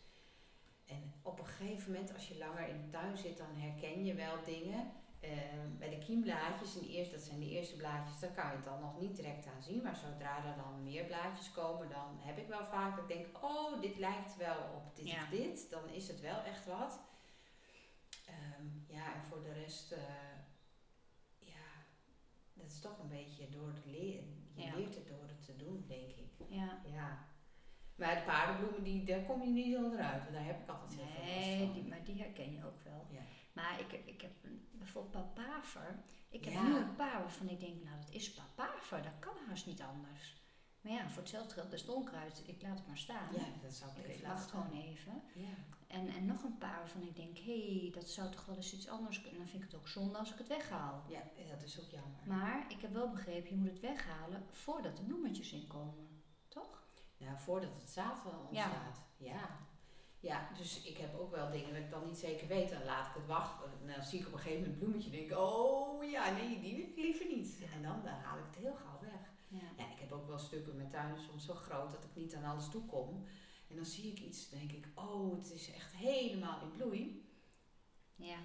Speaker 2: En op een gegeven moment, als je langer in de tuin zit, dan herken je wel dingen. Ehm, bij de kiemblaadjes, en eerst, dat zijn de eerste blaadjes, daar kan je het dan nog niet direct aan zien. Maar zodra er dan meer blaadjes komen, dan heb ik wel vaak dat ik denk, oh, dit lijkt wel op dit
Speaker 1: Ja.
Speaker 2: of dit. Dan is het wel echt wat. Ehm, ja, en voor de rest, eh, ja, dat is toch een beetje door het leren. Je
Speaker 1: Ja.
Speaker 2: leert het door het te doen, denk ik.
Speaker 1: Ja.
Speaker 2: Ja. Maar de paardenbloemen, die, daar kom je niet onderuit. Want daar heb ik altijd heel veel
Speaker 1: Nee,
Speaker 2: last
Speaker 1: die,
Speaker 2: van.
Speaker 1: maar die herken je ook wel.
Speaker 2: Ja.
Speaker 1: Maar ik, ik heb een- bijvoorbeeld papaver. Ik heb
Speaker 2: Ja.
Speaker 1: nu een paar waarvan ik denk, nou dat is papaver, dat kan haast niet anders. Maar ja, voor hetzelfde geld is het onkruid, ik laat het maar staan.
Speaker 2: ja, dat zou ik,
Speaker 1: Ik
Speaker 2: even
Speaker 1: wacht
Speaker 2: laten.
Speaker 1: gewoon even.
Speaker 2: Ja.
Speaker 1: En, en nog een paar waarvan ik denk, hé, hey, dat zou toch wel eens iets anders kunnen. Dan vind ik het ook zonde als ik het weghaal.
Speaker 2: ja, dat is ook jammer.
Speaker 1: Maar ik heb wel begrepen, je moet het weghalen voordat de bloemetjes in komen. Toch?
Speaker 2: Nou, voordat het zaad wel ontstaat. Ja. ja. dus ik heb ook wel dingen dat ik dan niet zeker weet. Dan laat ik het wachten. En dan zie ik op een gegeven moment een bloemetje. denk ik, oh ja, nee, die wil ik liever niet. En dan, eh, haal ik het heel gauw weg.
Speaker 1: Ja.
Speaker 2: Ja, ik heb ook wel stukken met tuinen soms zo groot dat ik niet aan alles toe kom. En dan zie ik iets, dan denk ik, oh, het is echt helemaal in bloei.
Speaker 1: Ja.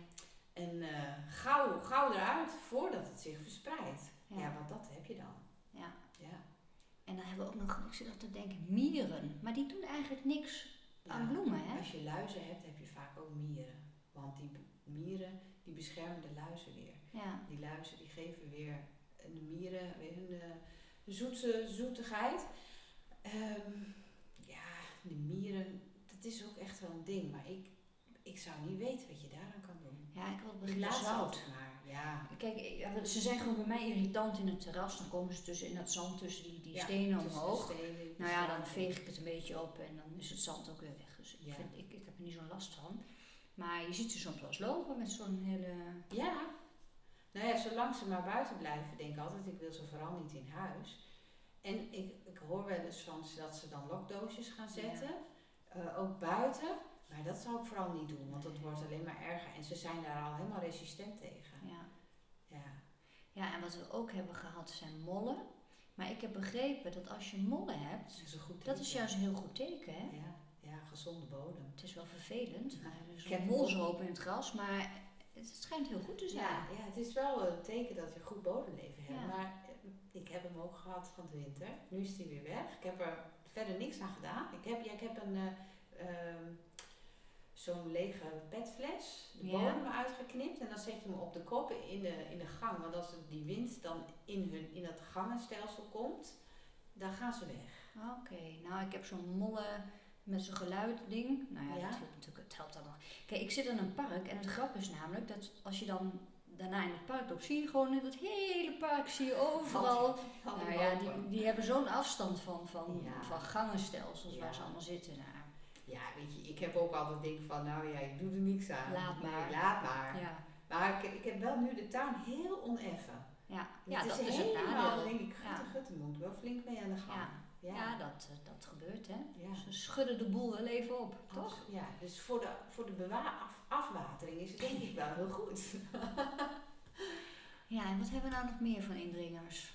Speaker 2: En eh, gauw, gauw eruit voordat het zich verspreidt. Ja.
Speaker 1: ja.
Speaker 2: want dat heb je dan.
Speaker 1: ja.
Speaker 2: Ja.
Speaker 1: En dan hebben we ook nog, ik zit al te denken, mieren. Maar die doen eigenlijk niks aan
Speaker 2: Ja.
Speaker 1: bloemen, hè?
Speaker 2: Als je luizen hebt, heb je vaak ook mieren. Want die b- mieren, die beschermen de luizen weer.
Speaker 1: Ja,
Speaker 2: Die luizen, die geven weer eh, de mieren weer hun eh, zoete, zoetigheid. Ehm, ja, de mieren, dat is ook echt wel een ding. Maar ik, ik zou niet weten wat je daaraan kan doen.
Speaker 1: ja ik wil het
Speaker 2: Ik
Speaker 1: begin
Speaker 2: laat
Speaker 1: zout.
Speaker 2: het maar. Ja,
Speaker 1: Kijk, ik- ze zijn gewoon bij mij irritant in het terras. Dan komen ze tussen in dat zand tussen die, die
Speaker 2: Ja,
Speaker 1: stenen
Speaker 2: tussen de
Speaker 1: omhoog.
Speaker 2: stenen,
Speaker 1: Nou ja, dan
Speaker 2: zaden.
Speaker 1: veeg ik het een beetje op en dan is het zand ook weer weg. Dus ik,
Speaker 2: Ja.
Speaker 1: vind, ik, ik heb er niet zo'n last van. Maar je ziet ze soms wel eens lopen met zo'n hele...
Speaker 2: Ja. Nou ja, zolang ze maar buiten blijven, denk ik altijd, ik wil ze vooral niet in huis. En ik, ik hoor wel eens van ze dat ze dan lokdoosjes gaan zetten, eh, ook buiten. Maar dat zou ik vooral niet doen, want dat
Speaker 1: Nee.
Speaker 2: wordt alleen maar erger. En ze zijn daar al helemaal resistent tegen.
Speaker 1: Ja.
Speaker 2: Ja,
Speaker 1: ja, en wat we ook hebben gehad zijn mollen. Maar ik heb begrepen dat als je mollen hebt,
Speaker 2: dat is een goed
Speaker 1: dat is
Speaker 2: teken.
Speaker 1: juist een heel goed teken, hè?
Speaker 2: Ja, ja, gezonde bodem.
Speaker 1: Het is wel vervelend.
Speaker 2: Ja,
Speaker 1: Er is
Speaker 2: ik heb
Speaker 1: een molshoop in het gras, maar het schijnt heel goed te
Speaker 2: Dus
Speaker 1: zijn.
Speaker 2: ja, ja, het is wel een teken dat je goed bodemleven hebt.
Speaker 1: Ja.
Speaker 2: Maar eh, ik heb hem ook gehad van de winter. Nu is hij weer weg. Ik heb er verder niks aan gedaan. Ik heb, ja, ik heb een, eh, ehm, zo'n lege petfles, de
Speaker 1: Ja.
Speaker 2: bodem uitgeknipt. En dan zet je hem op de kop in de, in de gang. Want als het- die wind dan in, hun, in dat gangenstelsel komt, dan gaan ze weg.
Speaker 1: Oké, nou ik heb zo'n molle met zo'n geluidding. Nou ja,
Speaker 2: Ja.
Speaker 1: dat hielp natuurlijk, het helpt allemaal. Kijk, ik zit in een park en het grap is namelijk dat als je dan daarna in het park loopt, zie je gewoon in het hele park, zie je overal.
Speaker 2: Van
Speaker 1: nou ja,
Speaker 2: bomen.
Speaker 1: die, die hebben zo'n afstand van, van,
Speaker 2: Ja.
Speaker 1: van gangenstelsels
Speaker 2: Ja.
Speaker 1: waar ze allemaal zitten. Nou,
Speaker 2: Ja, weet je, ik heb ook altijd denk van, nou ja, ik doe er niks aan.
Speaker 1: Laat
Speaker 2: Nee,
Speaker 1: maar.
Speaker 2: laat maar.
Speaker 1: ja,
Speaker 2: Maar ik, ik heb wel nu de tuin heel oneffen.
Speaker 1: ja.
Speaker 2: Het
Speaker 1: ja dat is het
Speaker 2: helemaal,
Speaker 1: nadeel.
Speaker 2: denk ik,
Speaker 1: Ja.
Speaker 2: gutte, gutte, moet wel flink mee aan de gang.
Speaker 1: Ja.
Speaker 2: ja.
Speaker 1: Ja, dat, eh, dat gebeurt hè.
Speaker 2: Ja.
Speaker 1: Ze schudden de boel wel even op, toch?
Speaker 2: Abs- Ja, dus voor de, voor de bewa- af- afwatering is het denk ik wel heel goed. (laughs)
Speaker 1: Ja, en wat hebben we nou nog meer van indringers?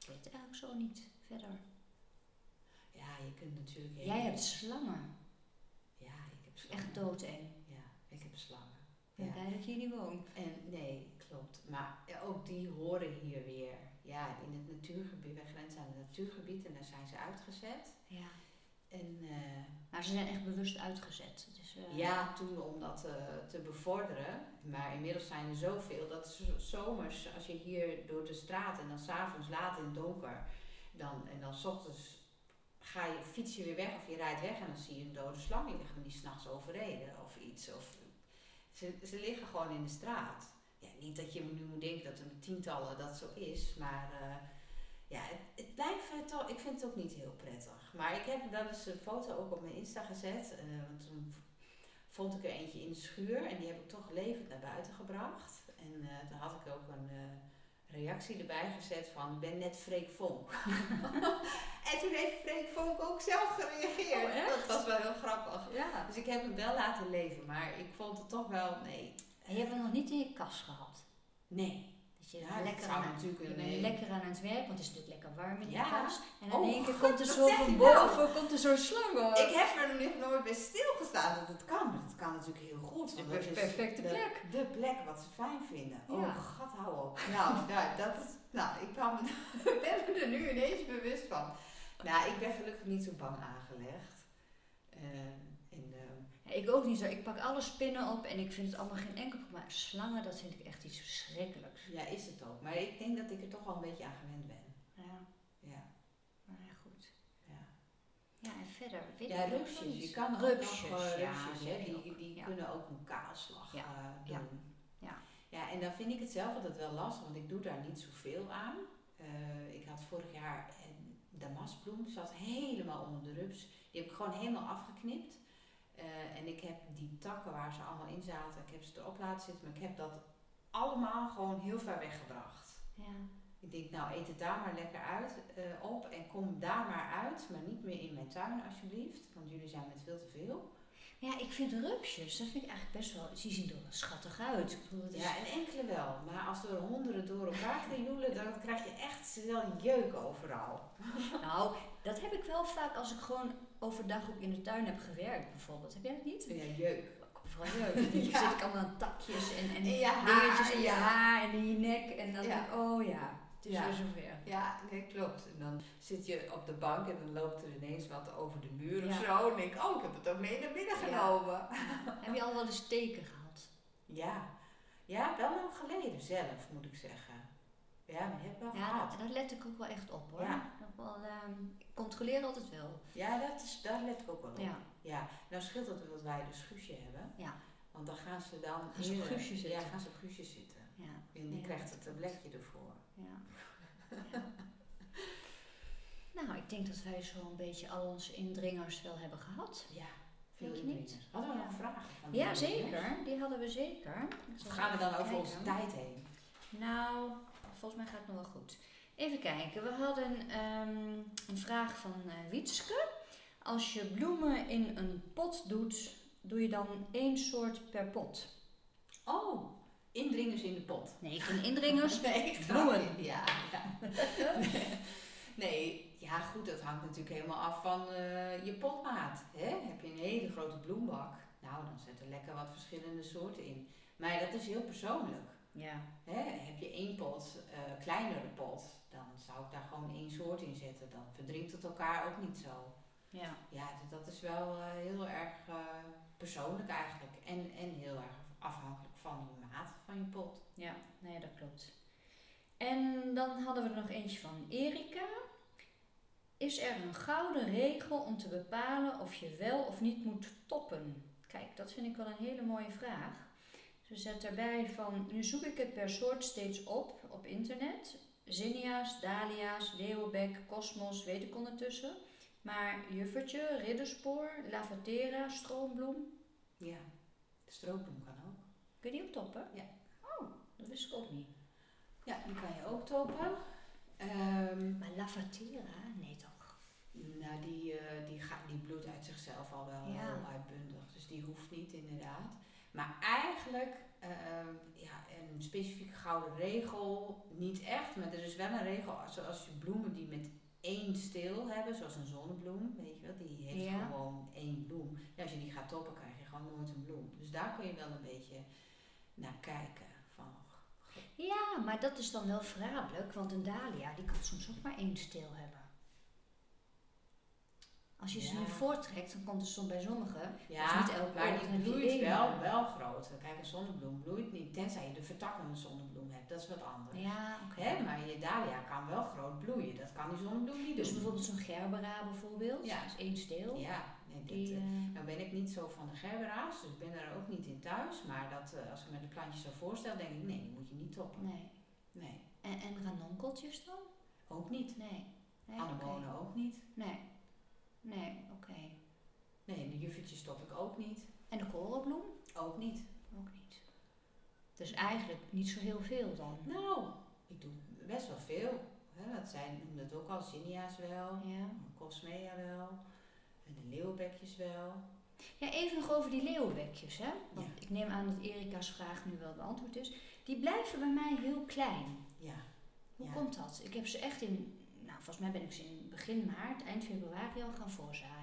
Speaker 1: Ik weet het eigenlijk zo niet verder.
Speaker 2: Ja, je kunt natuurlijk... heel-
Speaker 1: Jij hebt slangen.
Speaker 2: Ja, ik heb slangen.
Speaker 1: Echt doodeng.
Speaker 2: Ja, ik heb slangen.
Speaker 1: Ik ben
Speaker 2: Ja.
Speaker 1: blij dat je hier niet woont.
Speaker 2: En nee, klopt. Maar ook die horen hier weer. Ja, in het natuurgebied, wij grenzen aan het natuurgebied en daar zijn ze uitgezet.
Speaker 1: Ja.
Speaker 2: En eh,
Speaker 1: Maar ze zijn echt bewust uitgezet. Dus, eh,
Speaker 2: ja, toen om dat eh, te bevorderen. Maar inmiddels zijn er zoveel dat z- zomers, als je hier door de straat en dan s'avonds laat in het donker, dan, en dan s ochtends ga je, fiets je weer weg of je rijdt weg en dan zie je een dode slang liggen die s'nachts overreden of iets. Of, ze, ze liggen gewoon in de straat. Ja, niet dat je nu moet denken dat er met tientallen dat zo is, maar eh, ja, het, het lijkt me toch, ik vind het ook niet heel prettig. Maar ik heb wel eens een foto ook op mijn Insta gezet, eh, want toen vond ik er eentje in de schuur en die heb ik toch levend naar buiten gebracht. En eh, toen had ik ook een eh, reactie erbij gezet van, ik ben net Freek Vonk. (laughs) en toen heeft Freek Vonk ook zelf gereageerd.
Speaker 1: Oh, echt?
Speaker 2: dat was wel heel grappig.
Speaker 1: ja.
Speaker 2: Dus ik heb hem wel laten leven, maar ik vond het toch wel, nee.
Speaker 1: En je hebt hem nog niet in je kas gehad.
Speaker 2: Nee.
Speaker 1: Dus je,
Speaker 2: Ja,
Speaker 1: bent
Speaker 2: dat
Speaker 1: lekker,
Speaker 2: zou
Speaker 1: aan,
Speaker 2: natuurlijk
Speaker 1: je
Speaker 2: een- eh,
Speaker 1: bent lekker aan het werk, want het is natuurlijk lekker warm in je
Speaker 2: Ja.
Speaker 1: kas. En in
Speaker 2: Oh,
Speaker 1: één keer komt er
Speaker 2: wat
Speaker 1: zo
Speaker 2: zeg je
Speaker 1: van
Speaker 2: nou?
Speaker 1: boven komt er zo'n slang op.
Speaker 2: Ik heb er nog nooit bij stilgestaan dat het kan. Maar het kan natuurlijk heel goed.
Speaker 1: de
Speaker 2: want dat
Speaker 1: per-
Speaker 2: is
Speaker 1: perfecte
Speaker 2: de,
Speaker 1: plek.
Speaker 2: De plek wat ze fijn vinden.
Speaker 1: Ja.
Speaker 2: Oh, gat, hou op. Nou, (laughs) nou, dat is, nou ik kwam, ik ben me (laughs) er nu ineens bewust van. Nou, ik ben gelukkig niet zo bang aangelegd. Eh, en, eh,
Speaker 1: Ja, ik ook niet zo. Ik pak alle spinnen op en ik vind het allemaal geen enkel probleem. Maar slangen, dat vind ik echt iets verschrikkelijks.
Speaker 2: ja, is het ook. Maar ik denk dat ik er toch wel een beetje aan gewend ben.
Speaker 1: Ja,
Speaker 2: Ja,
Speaker 1: maar ja, goed.
Speaker 2: ja.
Speaker 1: Ja, en verder. Weet
Speaker 2: Ja,
Speaker 1: ik ook
Speaker 2: rupsjes.
Speaker 1: niet.
Speaker 2: Je kan ook
Speaker 1: rupsjes,
Speaker 2: nog eh,
Speaker 1: ja,
Speaker 2: rupsjes,
Speaker 1: die
Speaker 2: hè,
Speaker 1: heb je
Speaker 2: die,
Speaker 1: ook.
Speaker 2: die
Speaker 1: Ja.
Speaker 2: kunnen ook een kaalslag
Speaker 1: Ja.
Speaker 2: eh,
Speaker 1: Ja.
Speaker 2: doen.
Speaker 1: Ja.
Speaker 2: ja, en dan vind ik het zelf altijd wel lastig, want ik doe daar niet zoveel aan. Eh, ik had vorig jaar een damastbloem, zat helemaal onder de rups. Die heb ik gewoon helemaal afgeknipt. Eh, en ik heb die takken waar ze allemaal in zaten, ik heb ze erop laten zitten, maar ik heb dat allemaal gewoon heel ver weggebracht.
Speaker 1: Ja.
Speaker 2: Ik denk, nou eet het daar maar lekker uit, eh, op en kom daar maar uit, maar niet meer in mijn tuin alsjeblieft, want jullie zijn met veel te veel.
Speaker 1: ja, ik vind rupsjes, dat vind ik eigenlijk best wel, die zien er wel schattig uit. Ik bedoel, het is-
Speaker 2: Ja, en enkele wel, maar als er honderden door elkaar gaan joelen, dan krijg je echt wel jeuk overal.
Speaker 1: Nou, dat heb ik wel vaak als ik gewoon overdag ook in de tuin heb gewerkt bijvoorbeeld. Heb jij dat niet?
Speaker 2: Ja, jeuk.
Speaker 1: Ik kom (laughs) Vooral leuk. Dan
Speaker 2: Ja.
Speaker 1: zit ik allemaal aan takjes en, en
Speaker 2: En je haar,
Speaker 1: dingetjes in je
Speaker 2: ja.
Speaker 1: haar en in je nek. En dan
Speaker 2: Ja.
Speaker 1: denk ik, oh ja, het is
Speaker 2: Ja.
Speaker 1: weer zover.
Speaker 2: Ja, nee, klopt. En dan zit je op de bank en dan loopt er ineens wat over de muur of
Speaker 1: Ja.
Speaker 2: zo. En denk ik, oh, ik heb het ook mee naar binnen
Speaker 1: Ja.
Speaker 2: genomen.
Speaker 1: Heb je al wel eens teken gehad?
Speaker 2: Ja. ja, wel lang geleden zelf, moet ik zeggen. Ja, maar die heb ik wel
Speaker 1: Ja,
Speaker 2: gehad.
Speaker 1: daar, daar let ik ook wel echt op hoor.
Speaker 2: Ja.
Speaker 1: Nog wel, ehm, ik controleer altijd wel.
Speaker 2: Ja, dat is, daar let ik ook wel op.
Speaker 1: Ja.
Speaker 2: Ja, nou scheelt het dat wij dus guusje hebben.
Speaker 1: Ja.
Speaker 2: Want dan gaan ze dan...
Speaker 1: Gaan ze op
Speaker 2: eerder-
Speaker 1: guusje zitten.
Speaker 2: Ja, gaan ze op guusje zitten.
Speaker 1: Ja.
Speaker 2: En die
Speaker 1: Ja,
Speaker 2: krijgt
Speaker 1: dat
Speaker 2: het
Speaker 1: klopt.
Speaker 2: tabletje ervoor.
Speaker 1: ja.
Speaker 2: (laughs)
Speaker 1: Ja. Nou, ik denk dat wij zo'n beetje al onze indringers wel hebben gehad.
Speaker 2: Ja,
Speaker 1: Denk je
Speaker 2: indringers.
Speaker 1: niet?
Speaker 2: Hadden we nog
Speaker 1: Ja.
Speaker 2: een vraag? van de
Speaker 1: Ja,
Speaker 2: mensen?
Speaker 1: zeker. Die hadden we zeker.
Speaker 2: Of gaan we dan over onze
Speaker 1: tijd?
Speaker 2: tijd heen?
Speaker 1: Nou, volgens mij gaat het nog wel goed. Even kijken, we hadden ehm, een vraag van eh, Wietske. Als je bloemen in een pot doet, doe je dan één soort per pot?
Speaker 2: Oh, indringers in de pot.
Speaker 1: (laughs) Nee, geen indringers.
Speaker 2: (laughs) Nee, ik
Speaker 1: Bloemen.
Speaker 2: grapje.
Speaker 1: (laughs)
Speaker 2: Ja, ja. (laughs) nee, ja goed, dat hangt natuurlijk helemaal af van eh, je potmaat. Hè? Heb je een hele grote bloembak, nou dan zet er lekker wat verschillende soorten in. Maar dat is heel persoonlijk.
Speaker 1: Ja,
Speaker 2: Hè? Heb je één pot, eh kleinere pot, dan zou ik daar gewoon één soort in zetten. Dan verdrinkt het elkaar ook niet zo.
Speaker 1: ja.
Speaker 2: Ja, d- dat is wel eh, heel erg eh, persoonlijk eigenlijk. En, en heel erg afhankelijk van de maat van je pot.
Speaker 1: Ja, nee, dat klopt. En dan hadden we er nog eentje van Erika. Is er een gouden regel om te bepalen of je wel of niet moet toppen? Kijk, dat vind ik wel een hele mooie vraag. Ze zet daarbij van, nu zoek ik het per soort steeds op op internet. Zinnia's, dahlia's, leeuwenbek, kosmos, weet ik ondertussen. Maar juffertje, ridderspoor, lavatera, stroombloem,
Speaker 2: Ja, de stroopbloem kan ook.
Speaker 1: kun je die ook toppen?
Speaker 2: Ja.
Speaker 1: Oh, dat wist ik ook niet.
Speaker 2: Ja, die kan je ook toppen. Ehm,
Speaker 1: Maar lavatera? Nee toch?
Speaker 2: nou, die, eh, die, gaat, die bloedt uit zichzelf al wel
Speaker 1: Ja.
Speaker 2: heel uitbundig. Dus die hoeft niet inderdaad. Maar eigenlijk, ehm, ja, een specifieke gouden regel, niet echt. Maar er is wel een regel, zoals je bloemen die met één steel hebben, zoals een zonnebloem, weet je wel, die heeft
Speaker 1: Ja.
Speaker 2: gewoon één bloem. Ja, als je die gaat toppen, krijg je gewoon nooit een bloem. Dus daar kun je wel een beetje naar kijken. Van,
Speaker 1: Ja, maar dat is dan wel verraderlijk, want een dahlia die kan soms ook maar één steel hebben. Als je ze
Speaker 2: Ja.
Speaker 1: nu voorttrekt, dan komt er soms bij sommigen.
Speaker 2: Ja,
Speaker 1: Dus niet elke
Speaker 2: maar
Speaker 1: ochtend
Speaker 2: die
Speaker 1: heb je
Speaker 2: bloeit
Speaker 1: één,
Speaker 2: wel,
Speaker 1: maar-
Speaker 2: wel groot. Kijk, een zonnebloem bloeit niet, tenzij je de vertakkende zonnebloem hebt. Dat is wat anders.
Speaker 1: Ja, oké.
Speaker 2: Hè, maar je dahlia kan wel groot bloeien. Dat kan die zonnebloem niet
Speaker 1: Dus
Speaker 2: doen.
Speaker 1: bijvoorbeeld zo'n gerbera bijvoorbeeld,
Speaker 2: Ja.
Speaker 1: dat is één steel.
Speaker 2: Ja, nee, dat,
Speaker 1: Die,
Speaker 2: eh,
Speaker 1: eh,
Speaker 2: nou ben ik niet zo van de gerbera's, dus ik ben er ook niet in thuis. Maar dat, eh, als ik me de plantjes zo voorstel, denk ik, nee, die moet je niet toppen.
Speaker 1: nee.
Speaker 2: Nee,
Speaker 1: En, en ranonkeltjes dan?
Speaker 2: ook niet.
Speaker 1: Nee. Nee, oké.
Speaker 2: Anemonen ook niet.
Speaker 1: Nee. Nee, oké.
Speaker 2: Nee, de juffertjes top ik ook niet.
Speaker 1: En de korenbloem?
Speaker 2: Ook niet.
Speaker 1: Ook niet. Dus eigenlijk niet zo heel veel dan.
Speaker 2: Nou, ik doe best wel veel. Hè, dat zijn, noem dat ook al, zinnia's wel.
Speaker 1: Ja.
Speaker 2: Cosmea wel. En de leeuwbekjes wel.
Speaker 1: Ja, even nog over die leeuwenbekjes, hè? Want
Speaker 2: Ja.
Speaker 1: ik neem aan dat Erika's vraag nu wel beantwoord is. Die blijven bij mij heel klein.
Speaker 2: Ja.
Speaker 1: Hoe
Speaker 2: Ja.
Speaker 1: komt dat? Ik heb ze echt in, nou volgens mij ben ik ze in begin maart, eind februari al gaan voorzaaien.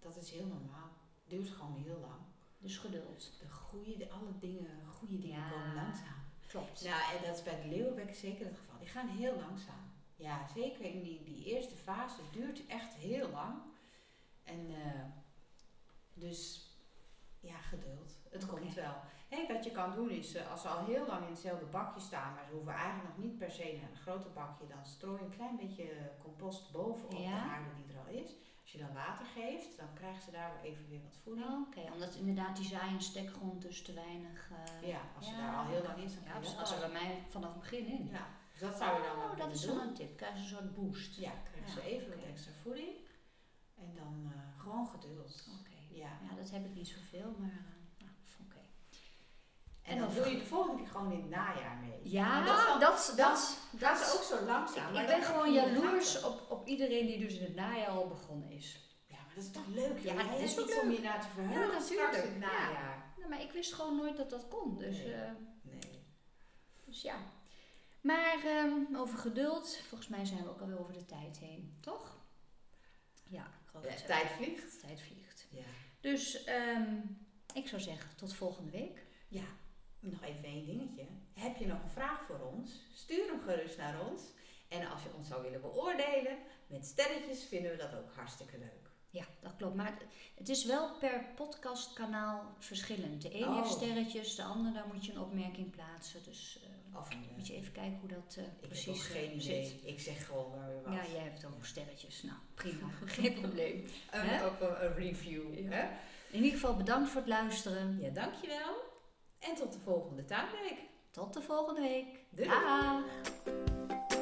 Speaker 2: Dat is heel normaal. Duurt gewoon heel lang.
Speaker 1: Dus geduld.
Speaker 2: De goede, de, alle dingen, goede dingen
Speaker 1: Ja.
Speaker 2: komen langzaam.
Speaker 1: Klopt.
Speaker 2: Nou, en dat is bij de leeuwbek zeker het geval. Die gaan heel langzaam. Ja, zeker in die, die eerste fase duurt echt heel lang. En eh, dus, ja, geduld. Het
Speaker 1: Oké.
Speaker 2: komt wel. Hé, wat je kan doen is, eh, als ze al heel lang in hetzelfde bakje staan, maar ze hoeven eigenlijk nog niet per se naar een groter bakje, dan strooi een klein beetje compost bovenop
Speaker 1: Ja.
Speaker 2: de aarde die er al is. Als je dan water geeft, dan krijgen ze daar even weer wat voeding.
Speaker 1: Oh, Oké, omdat inderdaad die zaai- en stekgrond dus te weinig... eh,
Speaker 2: Ja, als ze
Speaker 1: Ja.
Speaker 2: daar al heel lang is, dan
Speaker 1: Ja,
Speaker 2: kan je
Speaker 1: dus
Speaker 2: dat
Speaker 1: dat zat
Speaker 2: al.
Speaker 1: er bij mij vanaf het begin in.
Speaker 2: Ja, dus dat zou je dan wel
Speaker 1: oh, dat
Speaker 2: kunnen
Speaker 1: is
Speaker 2: doen.
Speaker 1: wel een tip. Krijg ze een soort boost.
Speaker 2: Ja, krijgen ze
Speaker 1: Ja,
Speaker 2: even
Speaker 1: oké.
Speaker 2: wat extra voeding. En dan eh, gewoon geduld.
Speaker 1: Oké.
Speaker 2: Ja.
Speaker 1: Ja, dat heb ik niet zoveel, maar eh, nou, oké.
Speaker 2: En,
Speaker 1: En
Speaker 2: dan
Speaker 1: dan-
Speaker 2: doe je de volgende keer gewoon in het najaar mee.
Speaker 1: Ja,
Speaker 2: Maar dat is
Speaker 1: dat,
Speaker 2: wel-
Speaker 1: dat, dat,
Speaker 2: Gaat ze ook zo langzaam.
Speaker 1: ik,
Speaker 2: maar
Speaker 1: ik
Speaker 2: dat
Speaker 1: ben
Speaker 2: heb
Speaker 1: gewoon
Speaker 2: je in de
Speaker 1: jaloers
Speaker 2: gaten.
Speaker 1: op, op iedereen die dus in het najaar al begonnen is.
Speaker 2: Ja, maar dat is toch leuk?
Speaker 1: Ja,
Speaker 2: joh.
Speaker 1: dat
Speaker 2: Jij
Speaker 1: is
Speaker 2: hebt
Speaker 1: ook
Speaker 2: iets om je naar te verheugen
Speaker 1: Ja,
Speaker 2: straks in
Speaker 1: natuurlijk.
Speaker 2: het
Speaker 1: Ja.
Speaker 2: najaar.
Speaker 1: Nou, maar ik wist gewoon nooit dat dat kon. Dus,
Speaker 2: Nee.
Speaker 1: eh,
Speaker 2: Nee.
Speaker 1: dus ja. Maar ehm, over geduld, volgens mij zijn we ook alweer over de tijd heen, toch? Ja, ik geloof het
Speaker 2: De
Speaker 1: wel.
Speaker 2: Eh, tijd vliegt.
Speaker 1: De tijd vliegt.
Speaker 2: Ja.
Speaker 1: Dus ehm, ik zou zeggen, tot volgende week.
Speaker 2: Ja, nog even één dingetje. Heb je nog een vraag voor ons? Stuur hem gerust naar ons. En als je ons zou willen beoordelen, met sterretjes vinden we dat ook hartstikke leuk.
Speaker 1: Ja, dat klopt. Maar het- het is wel per podcastkanaal verschillend. De een
Speaker 2: Oh.
Speaker 1: heeft sterretjes, de ander daar moet je een opmerking plaatsen. Dus eh,
Speaker 2: Of een, eh,
Speaker 1: moet je even kijken hoe dat eh,
Speaker 2: ik
Speaker 1: precies
Speaker 2: heb ook geen
Speaker 1: eh,
Speaker 2: idee.
Speaker 1: zit.
Speaker 2: Ik zeg gewoon waar we was.
Speaker 1: Ja, jij hebt ook sterretjes. Nou, prima. Geen probleem.
Speaker 2: Een-
Speaker 1: Hè?
Speaker 2: Eh, ook een, een review.
Speaker 1: Ja.
Speaker 2: Hè?
Speaker 1: In ieder geval bedankt voor het luisteren.
Speaker 2: ja, dankjewel. En tot de volgende tuinweek.
Speaker 1: Tot de volgende week.
Speaker 2: Doei.
Speaker 1: Daag.